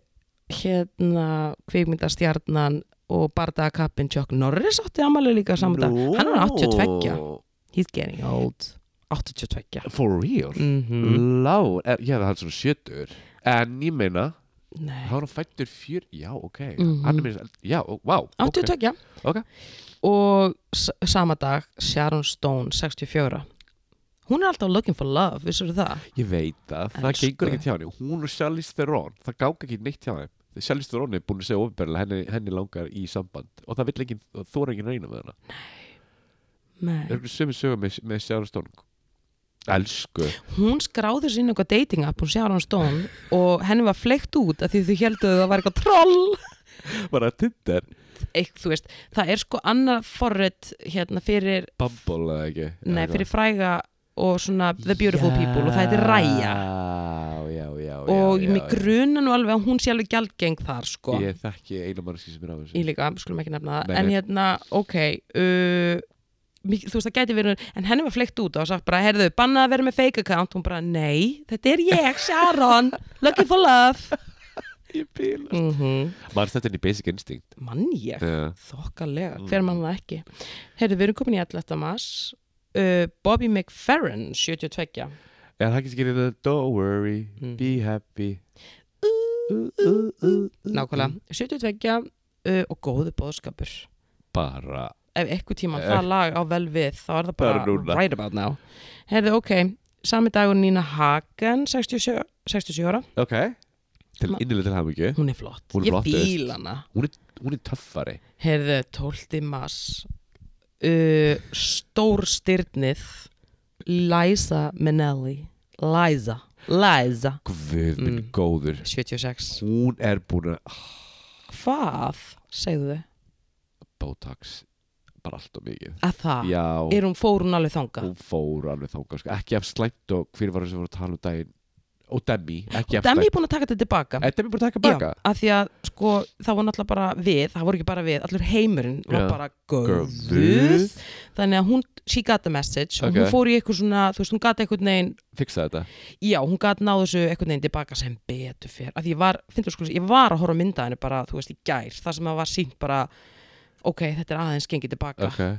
Speaker 2: hérna kvikmyndastjarnan og bardagakappin Chuck Norris átti amalegu líka saman dag hann er 82, he's getting old 82
Speaker 1: for real
Speaker 2: mm
Speaker 1: Lá, er, ég hefði hann svona sjötur En ég meina,
Speaker 2: nei
Speaker 1: hann var fættur fjör Já, ok
Speaker 2: Mhm.
Speaker 1: Hann er meira, já, ó, vá ok.
Speaker 2: 82
Speaker 1: Ok.
Speaker 2: og s- sama dag Sharon Stone, 64 hún er alltaf looking for love, vissur það
Speaker 1: Ég veit það, það
Speaker 2: Elsku.
Speaker 1: gengur ekki hjá henni Hún og Charlize Theron, það ganga ekki neitt hjá henni Charlize Theron er búin að segja ofurberlega henni, henni langar í samband Og það vill ekki, þú er ekki reyna með hana Það
Speaker 2: Nei.
Speaker 1: eru sömu sögur með, með Sharon Stone Elsku
Speaker 2: hún skráði sér inn í eitthvað dating app hún Sharon Stone og henni var fleikt út af því þau heldur að það var eitthvað troll
Speaker 1: Bara Tinder
Speaker 2: eitthvað, þú veist, það er sko annar forrið hérna fyrir,
Speaker 1: Bumble eða ekki
Speaker 2: nei,
Speaker 1: Eða
Speaker 2: fyrir
Speaker 1: hvað?
Speaker 2: fræga og svona The Beautiful People og það heitir Ræja
Speaker 1: Já, já, já
Speaker 2: og
Speaker 1: já,
Speaker 2: mér
Speaker 1: já.
Speaker 2: gruna nú alveg að hún sé alveg gjaldgeng þar sko
Speaker 1: Ég þekki einu mannski sem er á
Speaker 2: í
Speaker 1: þessu
Speaker 2: líka, við skulum ekki nefna það
Speaker 1: Nei,
Speaker 2: en
Speaker 1: nei.
Speaker 2: hérna, ok uh, mik- þú veist, það gæti verið en henni var fleikt út á og sagt bara, heyrðu, bannað að vera með fake account, hún bara, nei þetta er ég, Sharon, lucky for love
Speaker 1: Ég bíla
Speaker 2: mm
Speaker 1: Mann þetta er í Basic Instinct
Speaker 2: mann ég,
Speaker 1: Já,
Speaker 2: þokkalega
Speaker 1: Mm.
Speaker 2: hver mann það ekki, heyrðu, við erum komin í 11. mars uh, Bobby McFerrin 72
Speaker 1: Er það ekki skilin að Don't worry,
Speaker 2: Mm.
Speaker 1: be happy Mm.
Speaker 2: nákvæmlega, 72 uh, og góðu bóðskapur
Speaker 1: Bara
Speaker 2: ef eitthvað tíma
Speaker 1: Eh.
Speaker 2: það lag á vel við þá er það
Speaker 1: Bara núna.
Speaker 2: bara right about now Herðu, ok, sami dagur Nína Hagen 67, 67 ára,
Speaker 1: Ok Til
Speaker 2: Ma-
Speaker 1: innilega til hamingju
Speaker 2: hún er flott
Speaker 1: Hún er
Speaker 2: ég
Speaker 1: flott, veist.
Speaker 2: fíla hana
Speaker 1: Hún er töffari
Speaker 2: Herðu, 12. mass uh, stórstyrnið Liza Minnelli Liza, Liza
Speaker 1: Guð minn
Speaker 2: Mm.
Speaker 1: góður
Speaker 2: 76,
Speaker 1: Hún er búin að
Speaker 2: hvað segðu þau
Speaker 1: Botox Bara allt og mikið
Speaker 2: að það,
Speaker 1: Já
Speaker 2: er hún fór hún alveg þangað
Speaker 1: hún fór alveg þangað sko. ekki af slæmt og hver var það sem voru að tala um daginn og Demi ekki
Speaker 2: og
Speaker 1: af
Speaker 2: Demi
Speaker 1: slæmt
Speaker 2: er búin að taka þetta tilbaka
Speaker 1: Er Demi búin að taka baka?
Speaker 2: Já, af því að sko það var náttúrulega bara við, það voru ekki bara við, allur heimurinn var
Speaker 1: Já.
Speaker 2: bara góð
Speaker 1: Góð.
Speaker 2: þannig að hún, she got the message og
Speaker 1: Ok.
Speaker 2: hún fór í eitthvað svona, þú veist, hún gat eitthvað negin
Speaker 1: Fiksa þetta
Speaker 2: já, hún gat náðu þessu eitthvað negin tilbaka sem betur fyrr, af því ég var, finnur sko ég var að horfa á mynda henni bara, þú veist, í gær það sem að var sínt bara ok, þetta er aðeins gengið tilbaka okay.
Speaker 1: okay.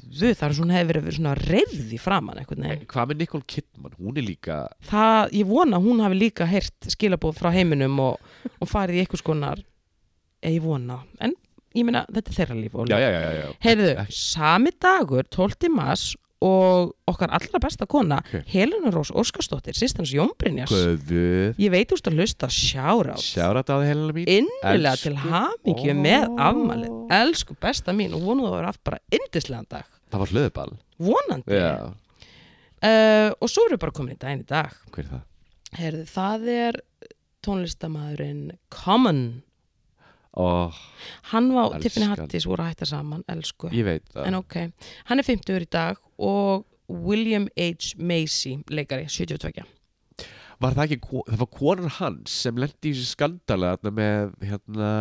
Speaker 2: guðu, þar sem hún hefur verið svona reyði framann eitthvað negin,
Speaker 1: Hvað með Nicole Kidman? Hún er líka
Speaker 2: það, ég vona að hún hafi líka heyrt skilabóð frá heiminum og, og farið í eitthvað skonar eða ég vona, en ég meina þetta er þeirra líf
Speaker 1: Já,
Speaker 2: Óli.
Speaker 1: já, já, já, já.
Speaker 2: Heyrðu,
Speaker 1: Ekki-
Speaker 2: sami dagur 12. mass og okkar allra besta kona
Speaker 1: Ok.
Speaker 2: Helena Rós Óskarsdóttir, sýstans Jónbrynjas
Speaker 1: Guð
Speaker 2: ég veit úrst að hlusta sjárátt
Speaker 1: Sjára þetta á þið helena mín
Speaker 2: innilega til
Speaker 1: Elsku-
Speaker 2: hamingju
Speaker 1: Ó.
Speaker 2: með afmælið elsku besta mín og vonuðu að vera haft bara yndislegan dag,
Speaker 1: Það var hlöðuball
Speaker 2: vonandi
Speaker 1: Já,
Speaker 2: uh, og svo eru bara komin í daginn í dag
Speaker 1: hver er það?
Speaker 2: Herðu, það er tónlistamæðurinn Common.
Speaker 1: Oh,
Speaker 2: Hann var,
Speaker 1: Elskan.
Speaker 2: Tiffany Hattis voru að hætta saman, elsku.
Speaker 1: ég veit það
Speaker 2: En ok, hann er 50 í dag og William H. Macy, leikari, 72.
Speaker 1: Var það ekki, ko- það var konan hans sem lendi í þessu skandala þarna með hérna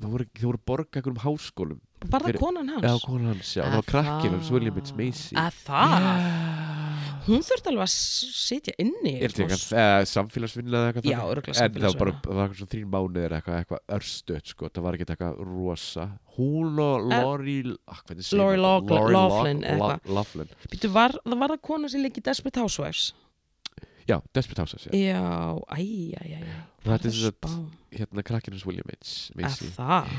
Speaker 1: Það voru, það voru borga einhverjum háskólum
Speaker 2: Var það
Speaker 1: Fyrir-
Speaker 2: konan hans?
Speaker 1: Já, konan hans, já, það var krakkinn hans William H. Macy
Speaker 2: Að það?
Speaker 1: Yeah.
Speaker 2: Hún þurfti alveg að s- sitja inni. í
Speaker 1: Er þetta
Speaker 2: smá s-
Speaker 1: eitthvað uh, samfélagsvinna eða eitthvað
Speaker 2: Já,
Speaker 1: þannig?
Speaker 2: örugglega
Speaker 1: En það var bara
Speaker 2: samfélagsvinna.
Speaker 1: það var eitthvað svona þrín mánuðir eitthvað, eitthvað örstuðt sko, það var ekki eitthvað rosa Hún og Lori ah, hvernig segir
Speaker 2: Lori
Speaker 1: maður?
Speaker 2: Loughlin-
Speaker 1: Lori Lough-
Speaker 2: Loughlin eða
Speaker 1: Lough-
Speaker 2: eitthvað.
Speaker 1: Loughlin
Speaker 2: Býttu, var, það var það konan sem leikir Desperate Housewives?
Speaker 1: Já, Desperate Houses já.
Speaker 2: Já, æj, æj, æj.
Speaker 1: Þetta er svo
Speaker 2: spá.
Speaker 1: hérna krakkinn hans William H.
Speaker 2: Að
Speaker 1: Macy
Speaker 2: það?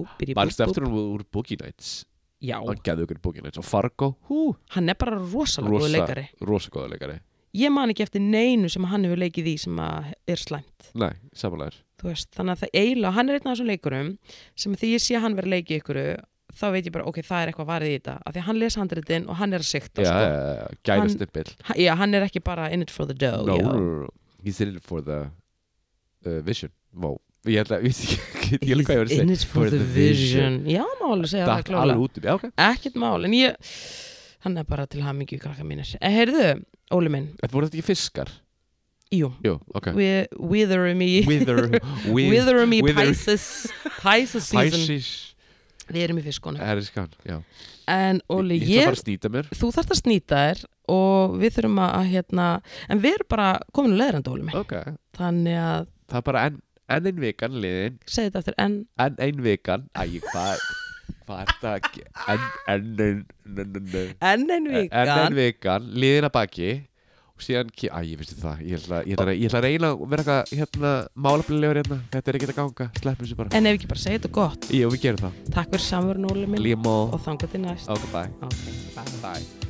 Speaker 2: Úpir í
Speaker 1: Mælst eftir hún úr Boogie Nights
Speaker 2: Já,
Speaker 1: Hann gæði okkur Boogie Nights og Fargo Hú,
Speaker 2: hann er bara rosalega góð
Speaker 1: rosa,
Speaker 2: leikari.
Speaker 1: rosa góða leikari
Speaker 2: ég man ekki eftir neinu sem hann hefur leikið í sem að er slæmt
Speaker 1: Nei, samanlegar
Speaker 2: þú veist, þannig að það eiginlega, hann er einn af þessum leikurum sem að því ég sé að hann verið leikið ykkur þá veit ég bara, ok, það er eitthvað varðið í þetta af því að hann les handritin og hann er að sikta
Speaker 1: Já,
Speaker 2: sko.
Speaker 1: já, já, gæra
Speaker 2: Hann-
Speaker 1: stimpill
Speaker 2: Ha- já, hann er ekki bara in it for the dough
Speaker 1: no,
Speaker 2: já.
Speaker 1: no, no, no. He's in it for the uh, vision Vá, ég held að, ég veit ekki ég held hvað
Speaker 2: He's
Speaker 1: ég var að segja
Speaker 2: in it for, the vision, já, máli segja það
Speaker 1: Datt
Speaker 2: klálega
Speaker 1: alveg út um, já, ok
Speaker 2: ekkert mál, en ég hann er bara til hamingju krakka mínir Eh, heyrðu, Óli minn,
Speaker 1: Þetta voru þetta ekki fiskar?
Speaker 2: jú
Speaker 1: Jú, ok
Speaker 2: we, wither me
Speaker 1: Wither Wither
Speaker 2: wither me
Speaker 1: wither-
Speaker 2: Pisces Pisces season
Speaker 1: Pisces
Speaker 2: við erum í fiskunum
Speaker 1: Eriskan, já
Speaker 2: en Óli,
Speaker 1: Ég ætla
Speaker 2: ég,
Speaker 1: bara að snýta mér
Speaker 2: þú þarft að snýta þér og við þurfum að, að hérna, en við erum bara komin að leðrandi Óli minn,
Speaker 1: Ok
Speaker 2: þannig að
Speaker 1: Það er bara enn en ein vikan liðin
Speaker 2: segja þetta eftir en
Speaker 1: Enn ein vikan Æ, hvað Hvað er það ekki Enn enn ein Enn enn
Speaker 2: enn ein
Speaker 1: Enn ein vikan Liðin að baki Og síðan ke- Æ, ég veistu það Ég ætla, ég ætla, ég ætla að reyna að vera eitthvað Hérna Málafnilegur hérna Þetta er ekki að ganga Sleppum þessu bara
Speaker 2: en ef ekki bara segja þetta gott,
Speaker 1: Jú, við gerum það
Speaker 2: takk fyrir samverðin Óli minn
Speaker 1: Límó
Speaker 2: og þangað til næst
Speaker 1: Ok, bye
Speaker 2: okay, bye.
Speaker 1: Bye